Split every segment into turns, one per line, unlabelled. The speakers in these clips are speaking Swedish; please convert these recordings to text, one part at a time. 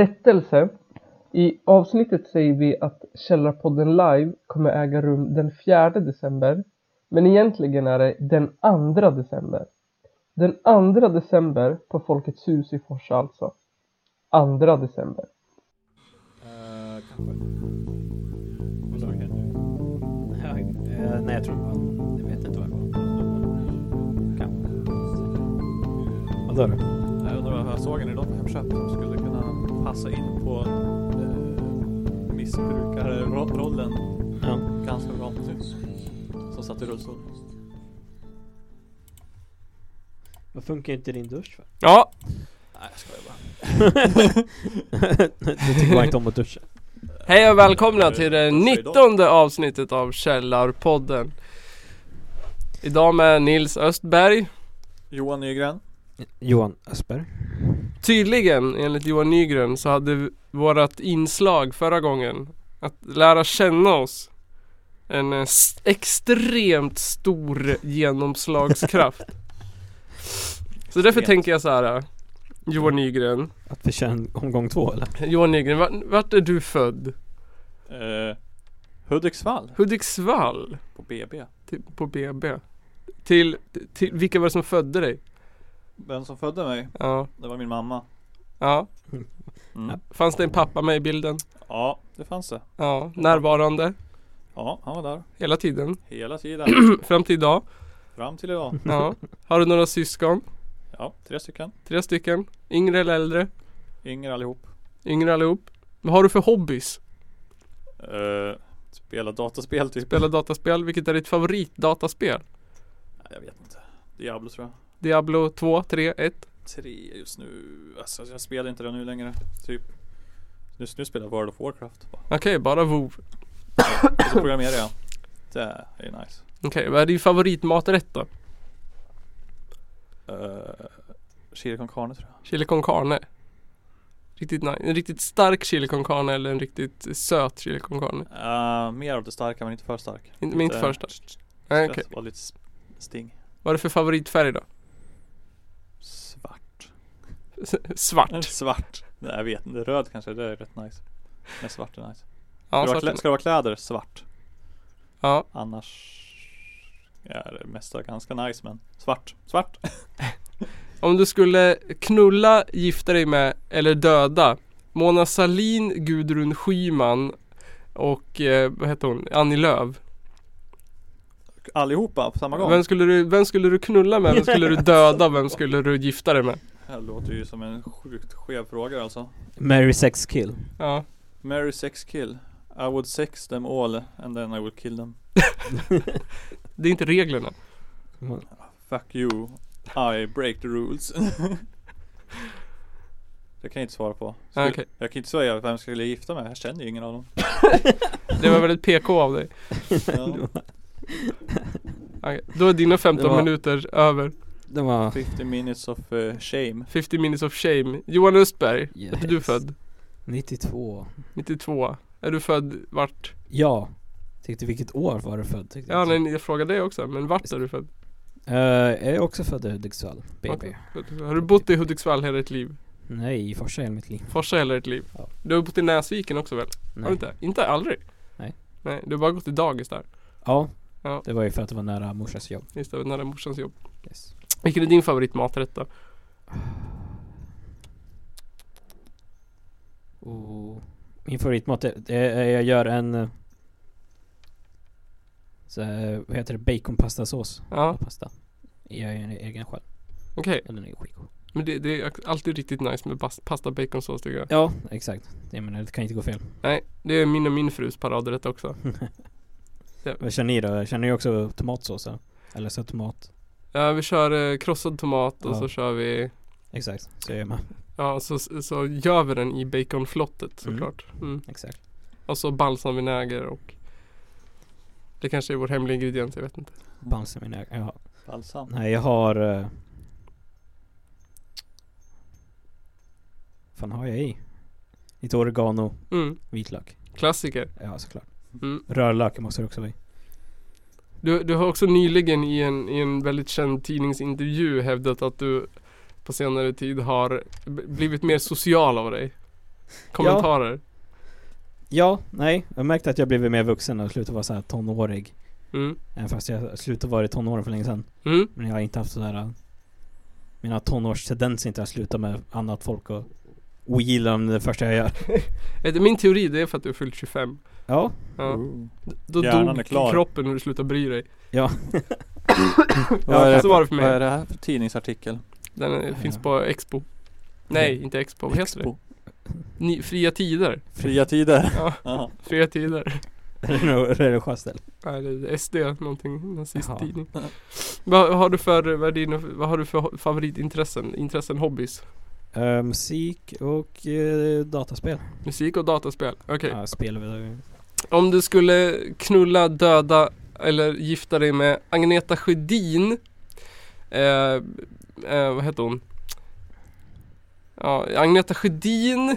Rättelse. I avsnittet säger vi att Källarpodden live kommer äga rum den 4 december. Men egentligen är det den 2 december. Den 2 december på Folkets hus i Forsa alltså. 2 december.
Eh, kanske. Ja, eh, nej, jag tror inte på Jag vet inte vad det var. Kanske. Vad sa du?
Jag undrar vad jag såg en idag på Hemköp som skulle kunna passa in på eh, missbrukarrollen
Ja.
ganska bra. Typ. Som satt i rullstol.
Vad funkar inte din dusch för?
Ja,
Nej, jag skojar bara.
du tycker bara inte om att duscha.
hej och välkomna till det
Varför idag?
19 avsnittet av Källarpodden. Idag med Nils Östberg.
Johan Nygren.
Johan Östberg.
Tydligen, enligt Johan Nygren, så hade v- vårat inslag förra gången, att lära känna oss, en eh, s- extremt stor genomslagskraft. Så därför
Extremt.
tänker jag så här, eh, Johan Nygren.
Att vi kör en omgång två eller?
Johan Nygren, vart, vart är du född?
Eh, Hudiksvall
Hudiksvall?
på BB.
Till, på BB. Till, till, vilka var det som födde dig?
Den som födde mig,
Ja.
det var min mamma.
Ja.
Mm.
Fanns det en pappa med i bilden?
Ja, det fanns det.
Ja. Närvarande?
Ja, han var där
Hela tiden?
hela tiden.
Fram till idag?
Fram till idag.
Ja. Har du några syskon?
Ja, tre stycken.
Tre stycken? Yngre eller äldre?
Yngre allihop.
Yngre allihop? Vad har du för hobbys?
Eh, spela dataspel typ.
Spela dataspel? Vilket är ditt favoritdataspel?
Nej, jag vet inte. Diablo tror jag.
Diablo 2, 3, 1?
tre just nu. Alltså jag spelar inte det nu längre. Typ. Just nu spelar jag World of Warcraft. bara.
Okej, bara WoW.
Och så programmerar jag. Det är ju nice.
Okej, vad är din favoritmaträtt då?
Uh, Chili con carne tror jag.
Chili con carne. Riktigt nice. En riktigt stark chili con carne eller en riktigt söt chili con carne.
Eh, mer av det starka men inte för stark.
Inte- Men inte
Eh,
för stark.
st- st-
Nej,
stress
okej.
var lite s- sting.
Vad är det för favoritfärg då?
Svart.
S- Svart.
Svart. Nej jag vet inte. Röd kanske. Det är rätt nice. Men svart är nice.
Ja,
ska, det
svart.
vara klä- ska det vara kläder? Svart.
ja.
Annars är det mesta ganska nice men svart. Svart.
Om du skulle knulla, gifta dig med eller döda Mona Sahlin, Gudrun Schyman och eh, vad heter hon? Annie Lööf.
Allihopa på samma gång.
Vem skulle, du, vem skulle du knulla med? Vem skulle du döda? Vem skulle du gifta dig med?
Det här låter ju som en sjukt skev fråga alltså.
Mary sex kill.
Ja.
Marry sex kill. I would sex them all and then I would kill them.
Det är inte reglerna.
Fuck you. I break the rules. det kan jag inte svara på.
Ah,
Skulle,
Okej.
Jag kan inte säga vem jag skulle gifta mig. Jag känner ju ingen av dem.
Det var väldigt PK av dig.
Ja,
Okej. Då är dina 15
Det var-
minuter över.
Det var...
50 minutes of eh, shame.
50 minutes of shame. Johan Östberg.
Yes.
Är du född?
92.
92. Är du född vart?
Ja. Tyckte vilket år var du född? Tyckte
Ja,
inte.
nej, jag frågade dig också. Men vart är du född?
Eh, jag är också född eh, i Hudiksvall. BB.
Okej. Har du bott i Hudiksvall hela ditt liv?
Nej, i Forsa hela mitt liv.
Forsa hela ditt liv?
Ja.
Du har bott i Näsviken också väl?
Nej.
Har du inte? Inte aldrig?
Nej.
Nej, du har bara gått i dagis där.
Ja.
Ja.
Det var ju för att det var nära morsas jobb.
Just det, nära morsans jobb.
Yes.
Vilken är din favoritmaträtt då?
Och min favoritmat är, det är jag gör en eh, så här, vad heter det? Baconpastasås.
Ja,
Pasta. Jag gör en egen själv.
okej.
Ja, Den är skitgod.
Men det, det är alltid riktigt nice med bas- pasta baconsås tycker jag.
Ja, exakt. Jag menar, det kan inte gå fel.
Nej, det är min och min frus paradrätt också.
Vad känner ni då? Känner ni också tomatsås? eller? Eller så tomat?
Ja, vi kör eh, krossad tomat och
Ja.
så kör vi
Exakt, så gör man.
Ja, så, så gör vi den i baconflottet
Mm.
såklart. Mm.
Exakt.
Och så balsamvinäger och Det kanske är vår hemliga ingrediens, jag vet inte.
Bamse min öga. Ja.
Balsam.
Nej, jag har... eh, fan har jag i? Lite oregano,
Mm.
vitlök.
Klassiker.
Ja, såklart.
Mm.
Rödlök måste det också vara i.
Du, du har också nyligen i en, i en väldigt känd tidningsintervju hävdat att du på senare tid har b- blivit mer social av dig. kommentarer.
Ja, nej. Jag märkte att jag blivit mer vuxen och slutat vara så här tonårig.
Mm.
Även fast jag slutade vara i tonåren för länge sedan.
Mm.
Men jag har inte haft sådär Mina tonårstendenser inte har slutat med annat folk och ogilla dem det första jag gör.
Vet du, Min teori det är för att du har fyllt 25.
Ja,
Ja. Då
Mm. Hjärnan är
dog
klar.
kroppen när du slutade bry dig.
Vad är det
så var det för mig.
Vad är det här för tidningsartikel?
Den är, finns
Ja.
på Expo. Nej, inte Expo. Vad heter det?
Expo.
Ni, fria tider.
Fria tider.
Ja.
Ja.
Fria tider.
det är nog religiöst ställe.
Nej, det är SD någonting. Nazisttidning.
Jaha.
Vad har du för, vad, är dina, vad har du för ho- favoritintressen? Intressen, hobbies?
Eh, musik och eh, dataspel.
Musik och dataspel? Okej.
Ja, spel över-
Om du skulle knulla, döda eller gifta dig med Agneta Sjödin eh, eh, Vad heter hon? Ja, Agneta Sjödin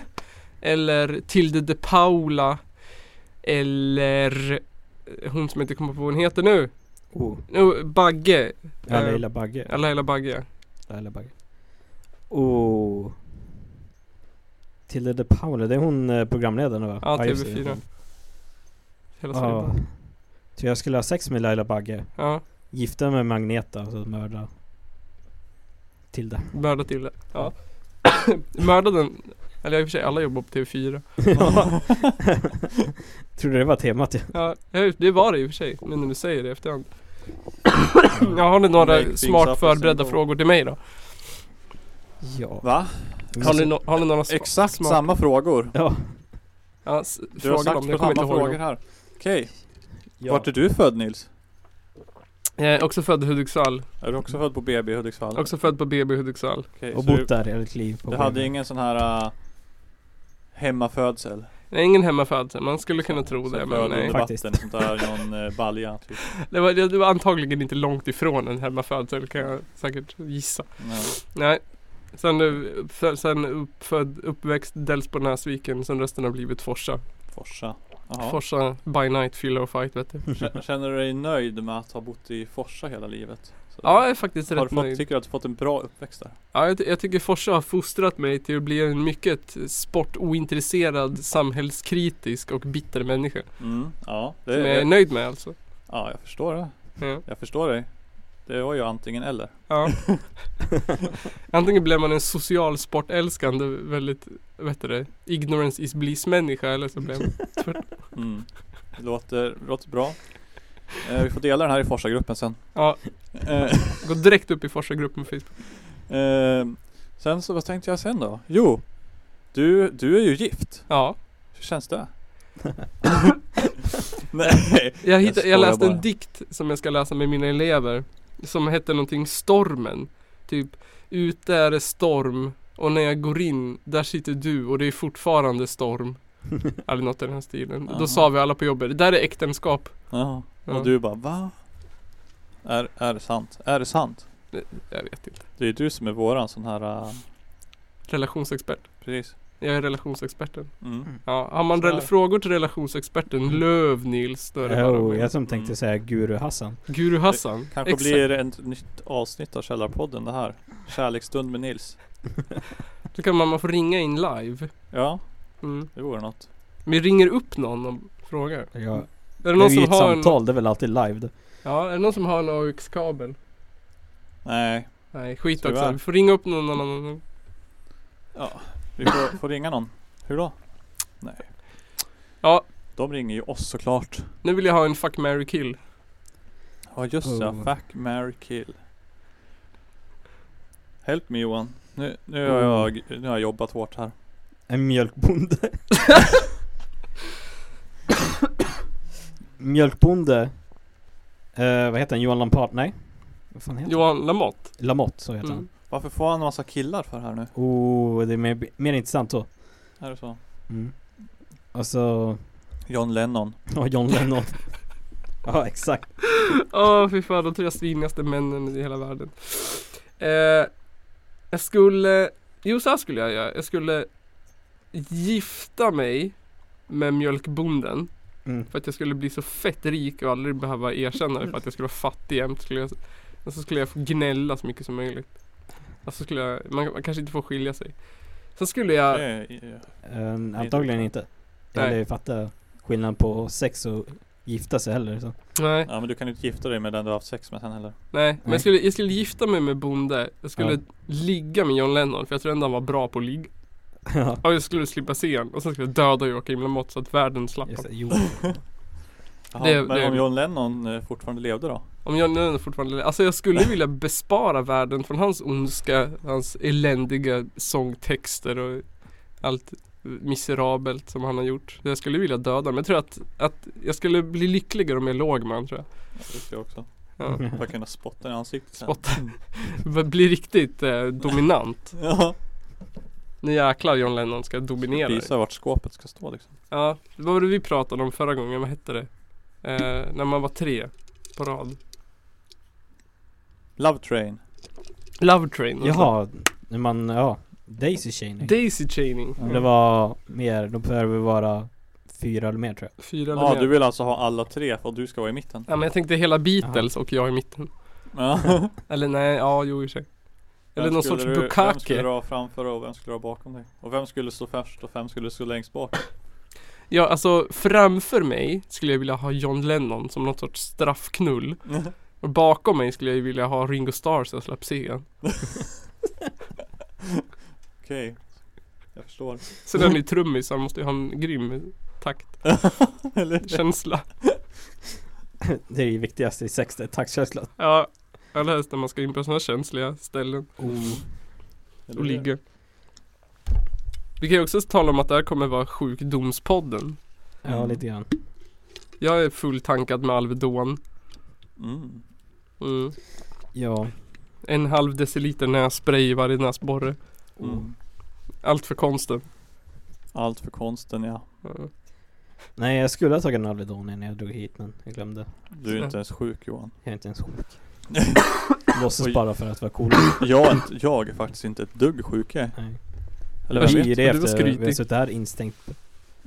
Eller Tilde de Paula Eller eh, hon som jag inte kommer på vad hon heter nu
Oh,
Nu, Bagge
ja,
Eh,
Leila Bagge.
Ja, Laila Bagge
Laila Bagge. Oh. Tilde de Paula, det är hon eh, programledaren va?
Ja,
just det,
TV4.
hon.
Hela Sverige
Ja.
bara.
Så jag skulle ha sex med Laila Bagge,
Ja,
gifta mig med Magneta och så mörda Tilde.
mörda Tilde Ja Mörda den Eller i och för sig, alla jobbar på TV4
Ja. Trodde det var temat ja.
Ja, ja, det var det i och för sig, nu när du säger det i efterhand. Jag har ni
Make
några
things
smart
up
förberedda
as we go.
frågor till mig då?
Ja.
Va?
Har ni, no har ni några sm-
Exakt
smart-
samma frågor.
Ja.
ja, s-
Du har
frågor
sagt
om,
på
jag kommer inte
samma
ihåg
frågor
dem.
här. Okej,
ja.
vart är du född Nils?
Jag är Eh, också född i Hudiksvall,
Är du också född på BB i Hudiksvall?
också född på BB i Hudiksvall.
Okej,
Och
så du,
bott där hela ditt liv. På
du hade
Bornholm.
ingen sån här äh, hemmafödsel?
Jag är ingen hemmafödd, man skulle kunna tro det men nej.
Fuck.
Faktiskt.
Faktiskt.
Vatten, sånt där, någon eh, balja typ.
Det var, det var antagligen inte långt ifrån en hemmafödsel kan jag säkert gissa.
Nej.
Nej. Sen, eh, för- sen uppfödd, uppväxt Delsbo-Näsviken, sen resten har blivit Forsa.
Forsa. Jaha.
Forsa by night, fylla och fight vet du.
K- Känner du dig nöjd med att ha bott i Forsa hela livet? Så-
Ja, jag är faktiskt
har du
rätt
fått,
nöjd.
Tycker du att du fått en bra uppväxt där?
Ja, jag, ty- jag tycker Forsa har fostrat mig till att bli en mycket sportointresserad, samhällskritisk och bitter människa.
Mm, ja, det,
Som jag är
jag,
nöjd med alltså.
ja, jag förstår det.
Ja.
Jag förstår dig. Det var ju antingen eller.
ja. Antingen blir man en social sportälskande, väldigt, vad heter det, ignorance is bliss människa eller så blir man
Mm. Det låter, låter bra. Eh, vi får dela den här i Forsa-gruppen sen.
Ja.
Eh,
Gå direkt upp i Forsa-gruppen på Facebook.
eh, sen så, vad tänkte jag sen då? Jo, du, du är ju gift.
Ja.
Hur känns det? Nej.
Jag, hittade,
skojar
jag läste
bara.
en dikt som jag ska läsa med mina elever. Som hette någonting Stormen. Typ, ute är det storm och när jag går in, där sitter du och det är fortfarande storm. Eller något i den här stilen.
Aha.
Då sa vi alla på jobbet, det där är äktenskap.
Ja.
Ja,
Och du bara va? Är, är det sant? Är det sant?
Jag vet inte.
Det är ju du som är våran sån här, äh,
Relationsexpert.
precis.
Jag är relationsexperten.
Mm.
Ja, har man
Så
rel-
här.
frågor till relationsexperten Löv Nils, då är det bara
Oh,
med.
jag som
Mm.
tänkte säga Guru Hassan.
Guru Hassan.
Kanske blir det ett nytt avsnitt av Källarpodden det här. Kärleksstund med Nils.
Då kan man, man få ringa in live.
Ja,
Mm.
det vore något.
Vi ringer upp någon och frågar.
Ja.
Är det
Det är
någon
ju
som
ett
har en...
samtal, det är väl alltid live det.
Ja, är det någon som har en AUX-kabel?
Nej,
Nej, skit
Tyvärr.
också. Vi får ringa upp någon annan. annan.
vi får, får ringa någon. Hur då? Nej.
Ja.
De ringer ju oss såklart.
Nu vill jag ha en fuck, marry, kill.
Ja just det,
Oh.
fuck, marry, kill. Help me Johan. Nu, nu, har jag, nu har jag jobbat hårt här.
En mjölkbonde. mjölkbonde. Eh, vad heter han? Johan Lampard? Nej. Vad fan heter han?
Johan Lamotte.
Lamotte, så heter
Mm.
Varför får han en massa killar för här nu?
han. Oh, det är mer, mer intressant så.
Är det så?
Mm. Och så...
John Lennon.
Ja, John Lennon. ja, exakt.
Mm. Åh fy fan, de tre svinigaste männen i hela världen. Eh, jag skulle, jo så här skulle jag göra. Jag skulle gifta mig med mjölkbonden.
Mm.
För att jag skulle bli så fett rik och aldrig behöva erkänna det för att jag skulle vara fattig jämt. Skulle jag, och så skulle jag få gnälla så mycket som möjligt. Alltså skulle jag, man, man kanske inte får skilja sig. Sen skulle jag...
Eh, eh,
Eh, antagligen inte.
Nej.
Eller fatta skillnaden på sex och gifta sig heller. Så.
Nej,
Ja men du kan ju inte gifta dig med den du har haft sex med sen heller.
nej. Men jag skulle, jag skulle gifta mig med Bonde. Jag skulle
Ja.
ligga med John Lennon för jag tror ändå han var bra på att ligga.
ja.
Och jag skulle slippa se honom. Och sen skulle jag döda Joakim Lamotte så att världen slapp
Just det,
honom.
jo.
Jaha,
Det-
men
det-
om John Lennon eh, fortfarande levde då?
Om John Lennon fortfarande le- Alltså jag skulle vilja bespara världen från hans ondska, hans eländiga sångtexter och allt miserabelt som han har gjort. Jag skulle vilja döda honom. Jag tror att, att jag skulle bli lyckligare om jag låg med honom tror jag.
Det tror jag också.
Ja.
För att kunna spotta i ansiktet sen.
Spotta. Vad Blir riktigt eh, dominant.
Ja.
Nu jäklar John Lennon ska dominera dig.
Visa vart skåpet ska stå liksom.
Ja, vad var det vi pratade om förra gången? Vad hette det? Eh, när man var tre på rad.
Love Train.
Love Train.
Jaha, när man, ja. Daisy Chaining.
Daisy Chaining.
Det var mer, då behöver vi vara fyra eller mer tror jag.
Fyra eller
Ja
mer.
du vill alltså ha alla tre för att du ska vara i mitten?
Ja men jag tänkte hela Beatles och jag i mitten.
Ja.
Eller nej, ja jo i och för sig. Eller
Vem
någon
skulle
sorts
du- Vem skulle
Bukake.
du ha framför och vem skulle du ha bakom dig? Och vem skulle stå först och vem skulle stå längst bak?
Ja alltså framför mig skulle jag vilja ha John Lennon som någon sorts straffknull. Och bakom mig skulle jag ju vilja ha Ringo Starr så jag slapp se honom.
Okej. Jag förstår.
Sen är han ju trummis, han måste ju ha en grym takt,
Eller?
känsla.
Det är det viktigaste i sex, det är taktkänslan.
Ja, allra helst när man ska in på sådana känsliga ställen
Eller
och
hur?
ligga. Vi kan ju också tala om att det här kommer vara sjukdomspodden.
Ja, lite grann.
Jag är fulltankad med Alvedon.
Mm.
Mm.
Ja.
En halv deciliter nässpray i varje näsborre. Oh.
Mm.
Allt för konsten.
Allt för konsten ja.
Ja.
Nej, jag skulle ha tagit en Alvedon innan jag drog hit men jag glömde.
Du är inte ens sjuk Johan.
Jag är inte ens sjuk. Låtsas bara för att vara cool.
Jag, är inte- jag är faktiskt inte ett dugg sjuk jag.
Nej.
Eller
Jag
vem
är
vet?
det
du var
efter
skrytig.
vi har suttit här instängt.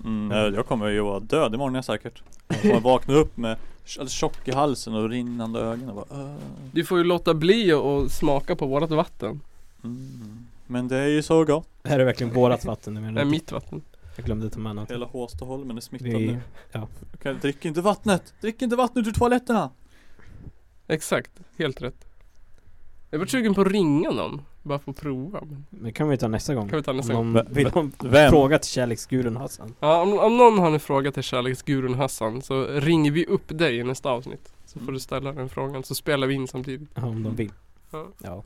Mm, eh, jag kommer ju vara död imorgon är jag säkert. Jag kommer vakna upp med tj- alldeles tjock i halsen och rinnande ögon och bara "Åh."
Du får ju låta bli att- att smaka på vårat vatten.
mm. Men det är ju så gott.
Det här är verkligen vårat vatten nu
Mm.
Nej,
men
Äh, mitt vatten.
jag glömde ta med något.
Hela Håstaholmen är smittad
Vi,
nu. Kan, drick inte vattnet! Drick inte vattnet ur toaletterna!
Exakt, helt rätt. Jag var sugen på att ringa någon. Bara för att prova. Men
det kan vi ta nästa gång.
Kan vi ta nästa gång.
om
Ve-
någon vill ha en
Vem?
fråga till kärleksgurun Hassan.
Ja, om, om någon har en fråga till kärleksgurun Hassan så ringer vi upp dig i nästa avsnitt. Så får du ställa den frågan så spelar vi in samtidigt.
Ja, Om de vill.
Ja.
Ja.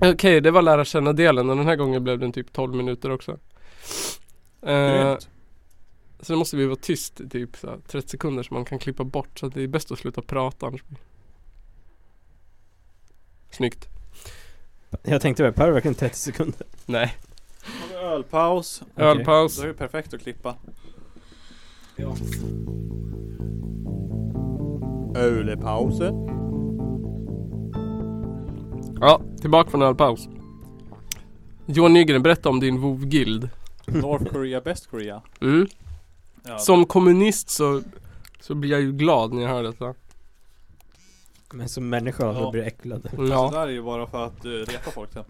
Okej, det var lära känna-delen och den här gången blev den typ 12 minuter också. Eh,
Grymt.
så nu måste vi vara tyst i typ så här, 30 sekunder så man kan klippa bort. Så det är bäst att sluta prata annars. blir- Snyggt.
Jag tänkte väl, Per har verkligen 30 sekunder.
Nej.
Har vi Ölpaus.
Okej.
Ölpaus.
Det är ju perfekt att klippa. Ölepause.
Ja, tillbaka från ölpaus. Johan Nygren, berätta om din WoW-guild.
North Korea, Best Korea.
Mm.
Ja,
Som kommunist så, så blir jag ju glad när jag hör detta.
Men som människa så
Ja.
blir jag äcklad.
Det
Ja,
där är ju bara för att eh, reta folk sen.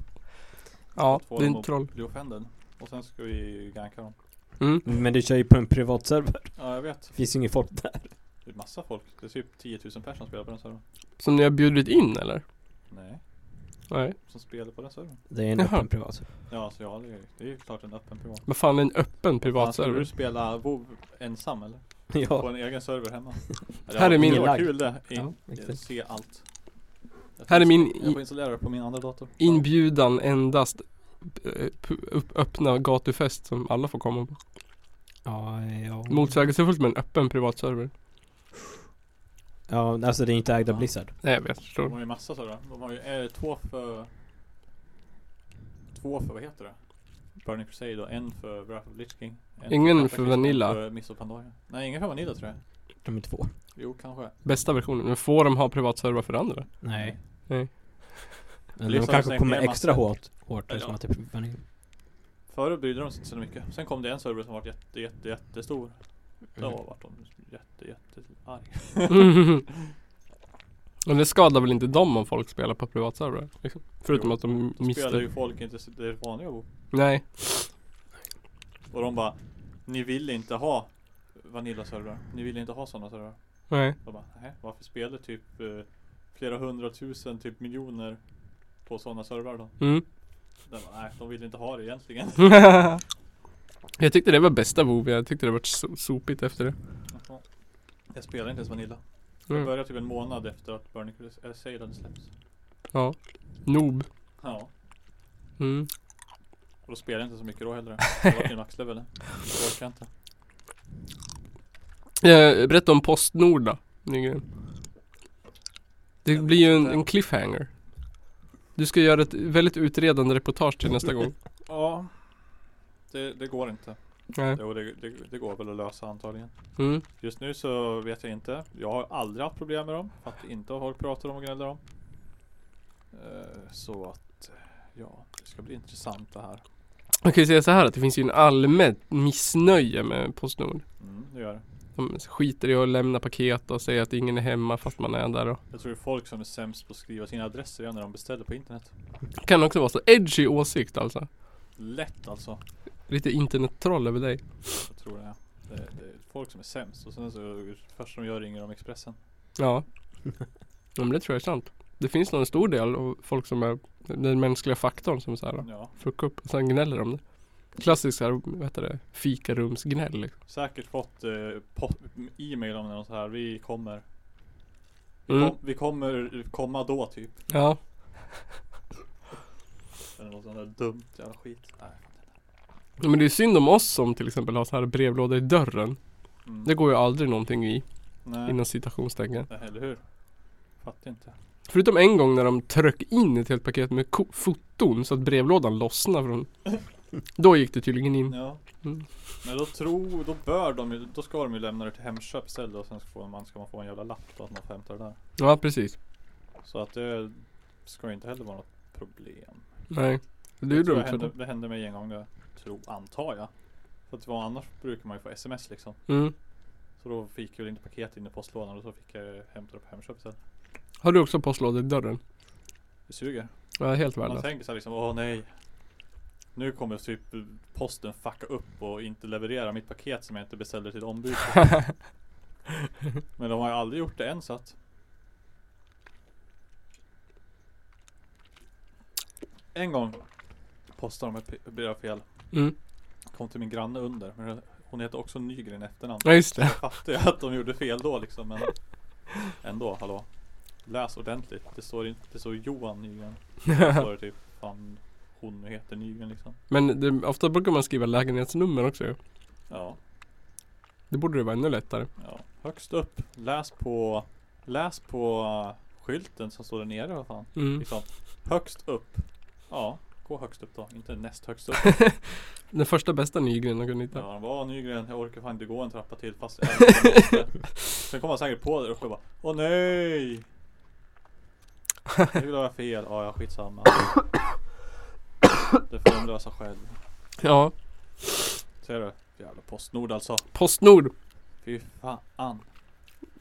ja
Två
det är
dem
en troll.
Bli offended. Och sen ska vi ganka dem.
Mm.
Men du kör ju på en privat server.
Ja, jag vet.
Det finns ju inget folk där.
Det är massa folk. Det är typ 10 000 personer som spelar på den servern.
Som ni har bjudit in eller?
Nej,
Nej.
som spelar på den servern.
Det är en
Jaha.
öppen privat server.
Ja, så ja, det är, det är ju klart en öppen privat.
Vad fan, en öppen
Fan, Skulle du
privatserver?
spela WoW ensam eller? På
Ja.
en egen server hemma? Ja, det
Här är
var-
min-
Det var
Lag.
kul det.
ja
In,
exakt.
se allt. Jag
Här är
får
min
installera- Jag får installera det på min andra dator.
Inbjudan endast eh, pu- upp- öppna gatufest som alla får komma på.
Ja, ja.
Mm.
Motsägelsefullt med en öppen privatserver.
Ja, alltså det är inte ägt av
Ja.
Blizzard.
Nej, jag vet.
De
Förstår.
har ju massa servrar. De har ju eh, två för... Två för, vad heter det? Burning Crusade och en för Wrath of Lich King. En
Ingen
Cataclysm,
för Vanilla.
en för Miss of Pandaria. Nej, ingen för Vanilla tror jag.
De är två.
Jo, kanske.
Bästa versionen. Men får de ha privatserver för andra?
Nej.
Nej.
Men de
Blizzard
kanske
sänker
kommer
en massa.
extra hårt. Hårt typ eftersom
Ja.
att det är vanilj.
Förut brydde de sig inte så mycket. Sen kom det en server som var jätte, jätte,
Mm.
jättestor. Då vart de jätte, jätte arg.
Men det skadar väl inte dem om folk spelar på privatservrar? Liksom. Förutom
Jo,
att de
Då spelar
mister.
ju folk inte sitt det vanliga bo.
Nej.
Och de bara Ni vill inte ha Vanilla-servrar. Ni vill inte ha sådana servrar.
Nej.
De bara nej, varför spelar typ eh, flera hundratusen, typ miljoner på sådana servrar då?
Mm.
De bara, nej, de vill inte ha det egentligen.
jag tyckte det var bästa WoW. Jag tyckte det var so- sopigt efter det.
Jaha. Jag spelar inte ens Vanilla. Jag
Mm.
började typ en månad efter att Burning Crusade hade släppts.
Ja. Noob.
Ja.
Mm.
Och då spelade jag inte så mycket då heller. Jag var till maxlevel. Jag orkar inte.
Eh, berätta om Postnord då, Nygren. Det
Jag
blir ju
vet
en,
inte.
en cliffhanger. Du ska göra ett väldigt utredande reportage till nästa gång.
Ja. Det, det går inte.
Nej.
Jo, det, det, det går väl att lösa antagligen.
Mm.
Just nu så vet jag inte. Jag har aldrig haft problem med dem. Att inte vad folk pratar om och gnäller om. Eh, Så att eh, ja, det ska bli intressant det här.
Man kan ju säga så här att det finns ju en allmänt missnöje med Postnord.
Mm, det gör det.
De skiter i att lämna paket och säger att ingen är hemma fast man är där. Och
Jag tror det är folk som är sämst på att skriva sina adresser igen när de beställer på internet.
det kan också vara så edgy åsikt alltså.
Lätt alltså.
Lite internettroll över dig.
Jag tror det. Är. Det, det är folk som är sämst och sen så först som jag ringer om Expressen.
Ja. ja men det tror jag är sant. Det finns nog en stor del av folk som är den mänskliga faktorn som är så här.
Ja,
fucka upp och sen gnäller de det. Klassiskt så här, vad heter det, fikarumsgnäll. liksom.
säkert fått eh, po- e-mail om det och så här. Vi kommer.
Mm.
Kom, vi kommer komma då typ.
Ja,
Eller något sånt där dumt jävla skit. Nej.
men det är synd om oss som till exempel har så här brevlåda i dörren.
Mm.
Det går ju aldrig någonting i,
Nej.
inom citationstecken.
Nej, eller hur? Fattar inte.
Förutom en gång när de tryck in ett helt paket med ko- foton så att brevlådan lossnade från... Då gick det tydligen in.
Ja.
Mm.
Men då tror, då bör de ju, då ska de ju lämna det till Hemköp istället och sen ska får man, ska man få en jävla lapp då att man får hämta det där.
Ja, precis.
Så att det ska ju inte heller vara något problem.
Nej. Det är ju
tror
dumt
jag
för
hände,
dem.
det hände mig en gång det, tror, antar jag. För att det var, annars brukar man ju få sms liksom.
Mm.
Så då fick jag väl inte paket in i postlådan och så fick jag ju hämta det på Hemköp istället.
Har du också postlåda i dörren?
Det suger.
Ja, helt
Man
värdelöst.
tänker så här liksom, åh nej. Nu kommer typ posten fucka upp och inte leverera mitt paket som jag inte beställde till ombud. Men de har ju aldrig gjort det än så att. En gång postade de ett brev fel.
Mm.
Kom till min granne under. Men hon heter också Nygren i efternamn.
Ja, just
Jag
det.
fattar ju att de gjorde fel då liksom men ändå, hallå. Läs ordentligt. Det står, inte, det står Johan Nygren. Det står det typ fan hon nu heter Nygren liksom.
Men det, ofta brukar man skriva lägenhetsnummer också ju.
Ja,
Det borde ju vara ännu lättare.
ja. Högst upp. Läs på, läs på eh, skylten som står där nere vad fan.
Mm.
Liksom, högst upp. Ja, gå högst upp då. Inte näst högst upp.
Den första bästa Nygren de kunde hitta.
Ja, han bara "Åh, Nygren, jag orkar fan inte gå en trappa till fast jag ändå måste." Sen kom han säkert på det uppe och bara Åh nej! Nu la jag fel, ja ja skitsamma Det får de lösa själv
Ja,
Ser du? Jävla Postnord alltså
Postnord
Fy fan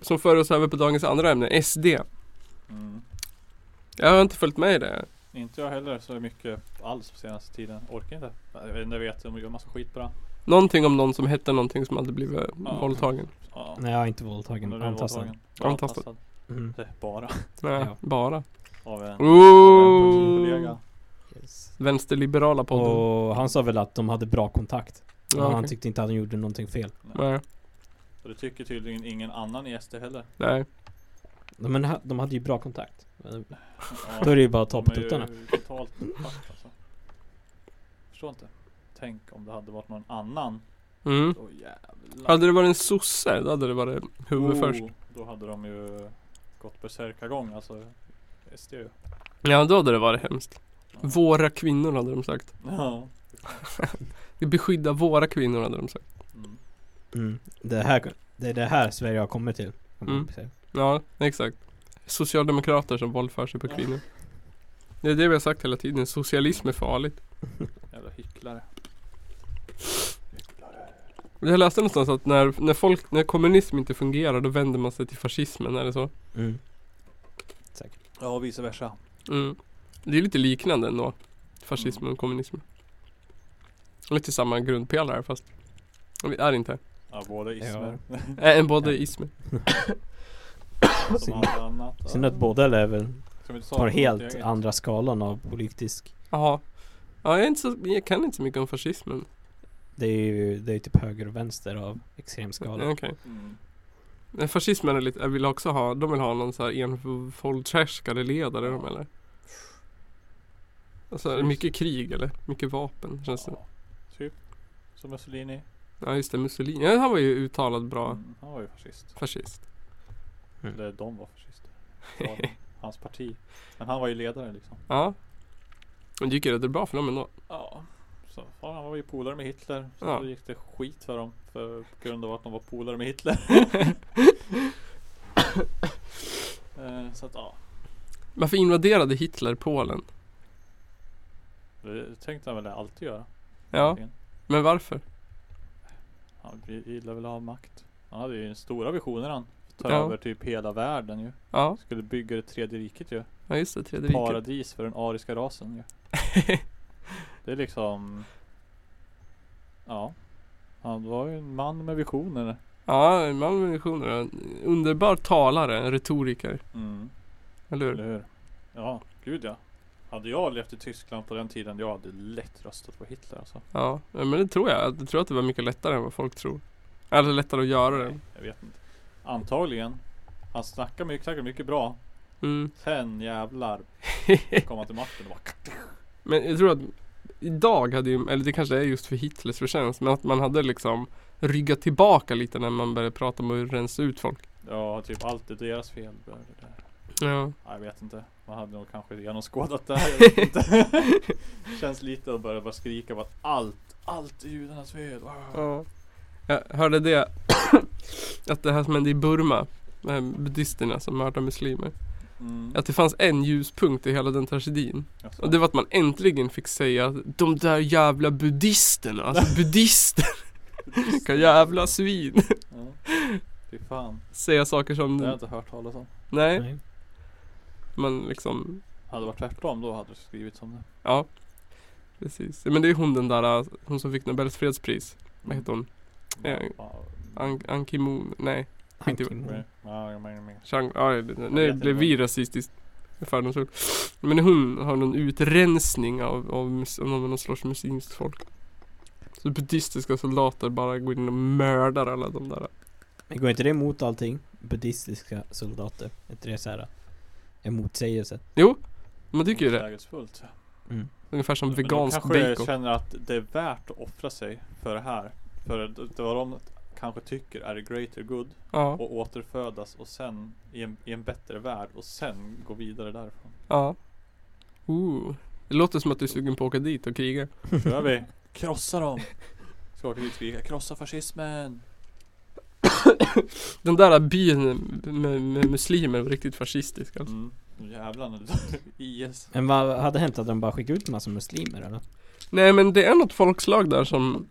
som för oss över på dagens andra ämne, SD.
mm.
Jag har inte följt med i det.
Inte jag heller så mycket alls på senaste tiden Orkar inte Jag vet inte, jag vet, de gör massa skit bara
Någonting om någon som hette någonting som eh, hade blivit ja. våldtagen.
Ja,
Nej jag är inte våldtagen,
nu är det
antastad.
våldtagen.
Antastad.
Antastad
Mm.
Det är Bara
Nej,
Ja.
bara.
av en,
Mm.
av en
Ooh.
kollega
Yes.
Vänsterliberala podden.
Och han sa väl att de hade bra kontakt.
Ja,
Och han
okej.
tyckte inte att de gjorde någonting fel.
Nej,
Och det tycker tydligen ingen annan i SD heller
nej.
Nej, Men ha- de hade ju bra kontakt.
Ja.
Då är det ju bara att ta på
De är ju
tuttarna.
Totalt fucked, alltså. Förstår inte. Tänk om det hade varit någon annan.
Mm.
Då jävlar.
Hade det varit en sosse, då hade det varit huvud
Oh,
först.
Då hade de ju gått besärkagång alltså. SD ju.
Ja, då hade det varit hemskt.
Ja.
Våra kvinnor hade de sagt.
Ja.
Vi beskyddar våra kvinnor hade de sagt.
Mm.
Mm. Det, här, det är det här Sverige har kommit till. kan man
Mm.
säga.
Ja, exakt. Socialdemokrater som våldför sig på
Ja.
kvinnor. Det är det vi har sagt hela tiden, socialism är farligt.
Jävla hycklare.
Jag läste någonstans att när, när, folk, när kommunism inte fungerar då vänder man sig till fascismen, är det så?
Mm.
Ja, och vice versa.
Mm. Det är lite liknande ändå.
Mm.
Mm.
Fascismen och kommunismen. Lite samma grundpelare fast. Vi är inte.
Ja, båda ismer.
Äh, både ismer.
Som allt annat.
Synd att båda lever
Ska vi inte ta
på
något
helt
eget?
andra skalan av politisk.
Jaha. Ja, jag, är inte så, jag kan inte så mycket om fascismen.
Det är ju det är ju typ höger och vänster av extremskalan.
Okej.
Mm.
Men Fascismen är lite, jag vill också ha, de vill ha någon så här envåldshärskare ledare de eller? Alltså är det mycket krig eller? Mycket vapen känns det.
Ja, typ. Som Mussolini.
Ja just det, Mussolini. Ja, han var ju uttalad bra
Mm, han var ju fascist.
fascist. Mm.
Eller de var fascister. Ja, Hans parti. Men han var ju ledaren liksom.
Ja. Men det gick ju rätt bra för dem ändå.
Ja. Så, fan, han var ju polare med Hitler. Så
Ja.
då gick det skit för dem. För, på grund av att de var polare med Hitler. Eh, så att ja.
Varför invaderade Hitler Polen?
Det tänkte han väl alltid göra.
Ja, men varför?
Han gillar väl att ha makt. Han hade ju stora visioner han. Ta
Ja.
över typ hela världen ju.
Ja,
Skulle bygga det tredje riket ju.
ja just det, tredje riket.
Paradis för den ariska rasen ju. Det är liksom Ja Han var ju en man med visioner
Ja, Malmö Missioner. en Underbar talare, en retoriker.
mm.
Eller
Eller
hur?
hur? Ja, gud ja Hade jag levt i Tyskland på den tiden Jag hade lätt röstat på Hitler alltså
Ja, men det tror jag. Jag tror att det var mycket lättare än vad folk tror. Eller lättare att göra det.
Nej, jag vet inte Antagligen Han snackar mycket, snackar mycket bra
Mm.
Sen jävlar Kom han till makten och bara
Men jag tror att idag hade ju, eller det kanske är just för Hitlers förtjänst, men att man hade liksom ryggat tillbaka lite när man började prata om att rensa ut folk.
Ja, typ allt är deras fel det där.
Ja.
Ja, Jag vet inte. Man hade nog kanske genomskådat det här. Jag vet inte. Känns lite att börja bara skrika på att allt, allt är judarnas fel. Wow.
ja. Jag hörde det, att det här som hände i Burma, de här buddhisterna som mördar muslimer.
Mm.
Att det fanns en ljuspunkt i hela den tragedin.
Alltså,
Och det var att man äntligen fick säga att de där jävla buddhisterna, alltså buddhister, vilka jävla svin.
Ja. Fy fan.
Säga saker som,
Det har jag inte hört talas om.
nej,
Nej.
man liksom
Hade det varit tvärtom då hade det skrivits om det.
Ja, precis. Men det är hon den där, hon som fick Nobels fredspris. Vad heter hon? Eh,
Ja,
An- An Ki-moon? Nej, Inte-
Anki-
ja, jag menar, men-
Chang... Ja, det-
vet
nu
inte
blev vi rasistiskt. Fördomsfull. Men hon har någon utrensning av, av, mus- av någon någon sorts muslimskt folk. Så buddhistiska soldater bara går in och mördar alla de där.
Men går inte det emot allting? Buddhistiska soldater. Är inte det såhär en motsägelse?
Jo, man tycker ju det.
Motsägelsefullt.
Ungefär som
Men de
vegansk
kanske
bacon.
känner att det är värt att offra sig för det här. För det, det var de kanske tycker är the greater good.
Ja,
Och återfödas och sen i en, i en bättre värld och sen gå vidare därifrån.
ja. Ooh. Det låter som att du är sugen på att åka dit och kriga.
Kör vi! Krossa dem! Ska åka dit och skrika krossa fascismen!
Den där byn med, med muslimer var riktigt fascistisk alltså.
Mm. Jävlar IS.
Men vad hade hänt att de bara skickade ut en massa muslimer eller?
Nej men det är något folkslag där som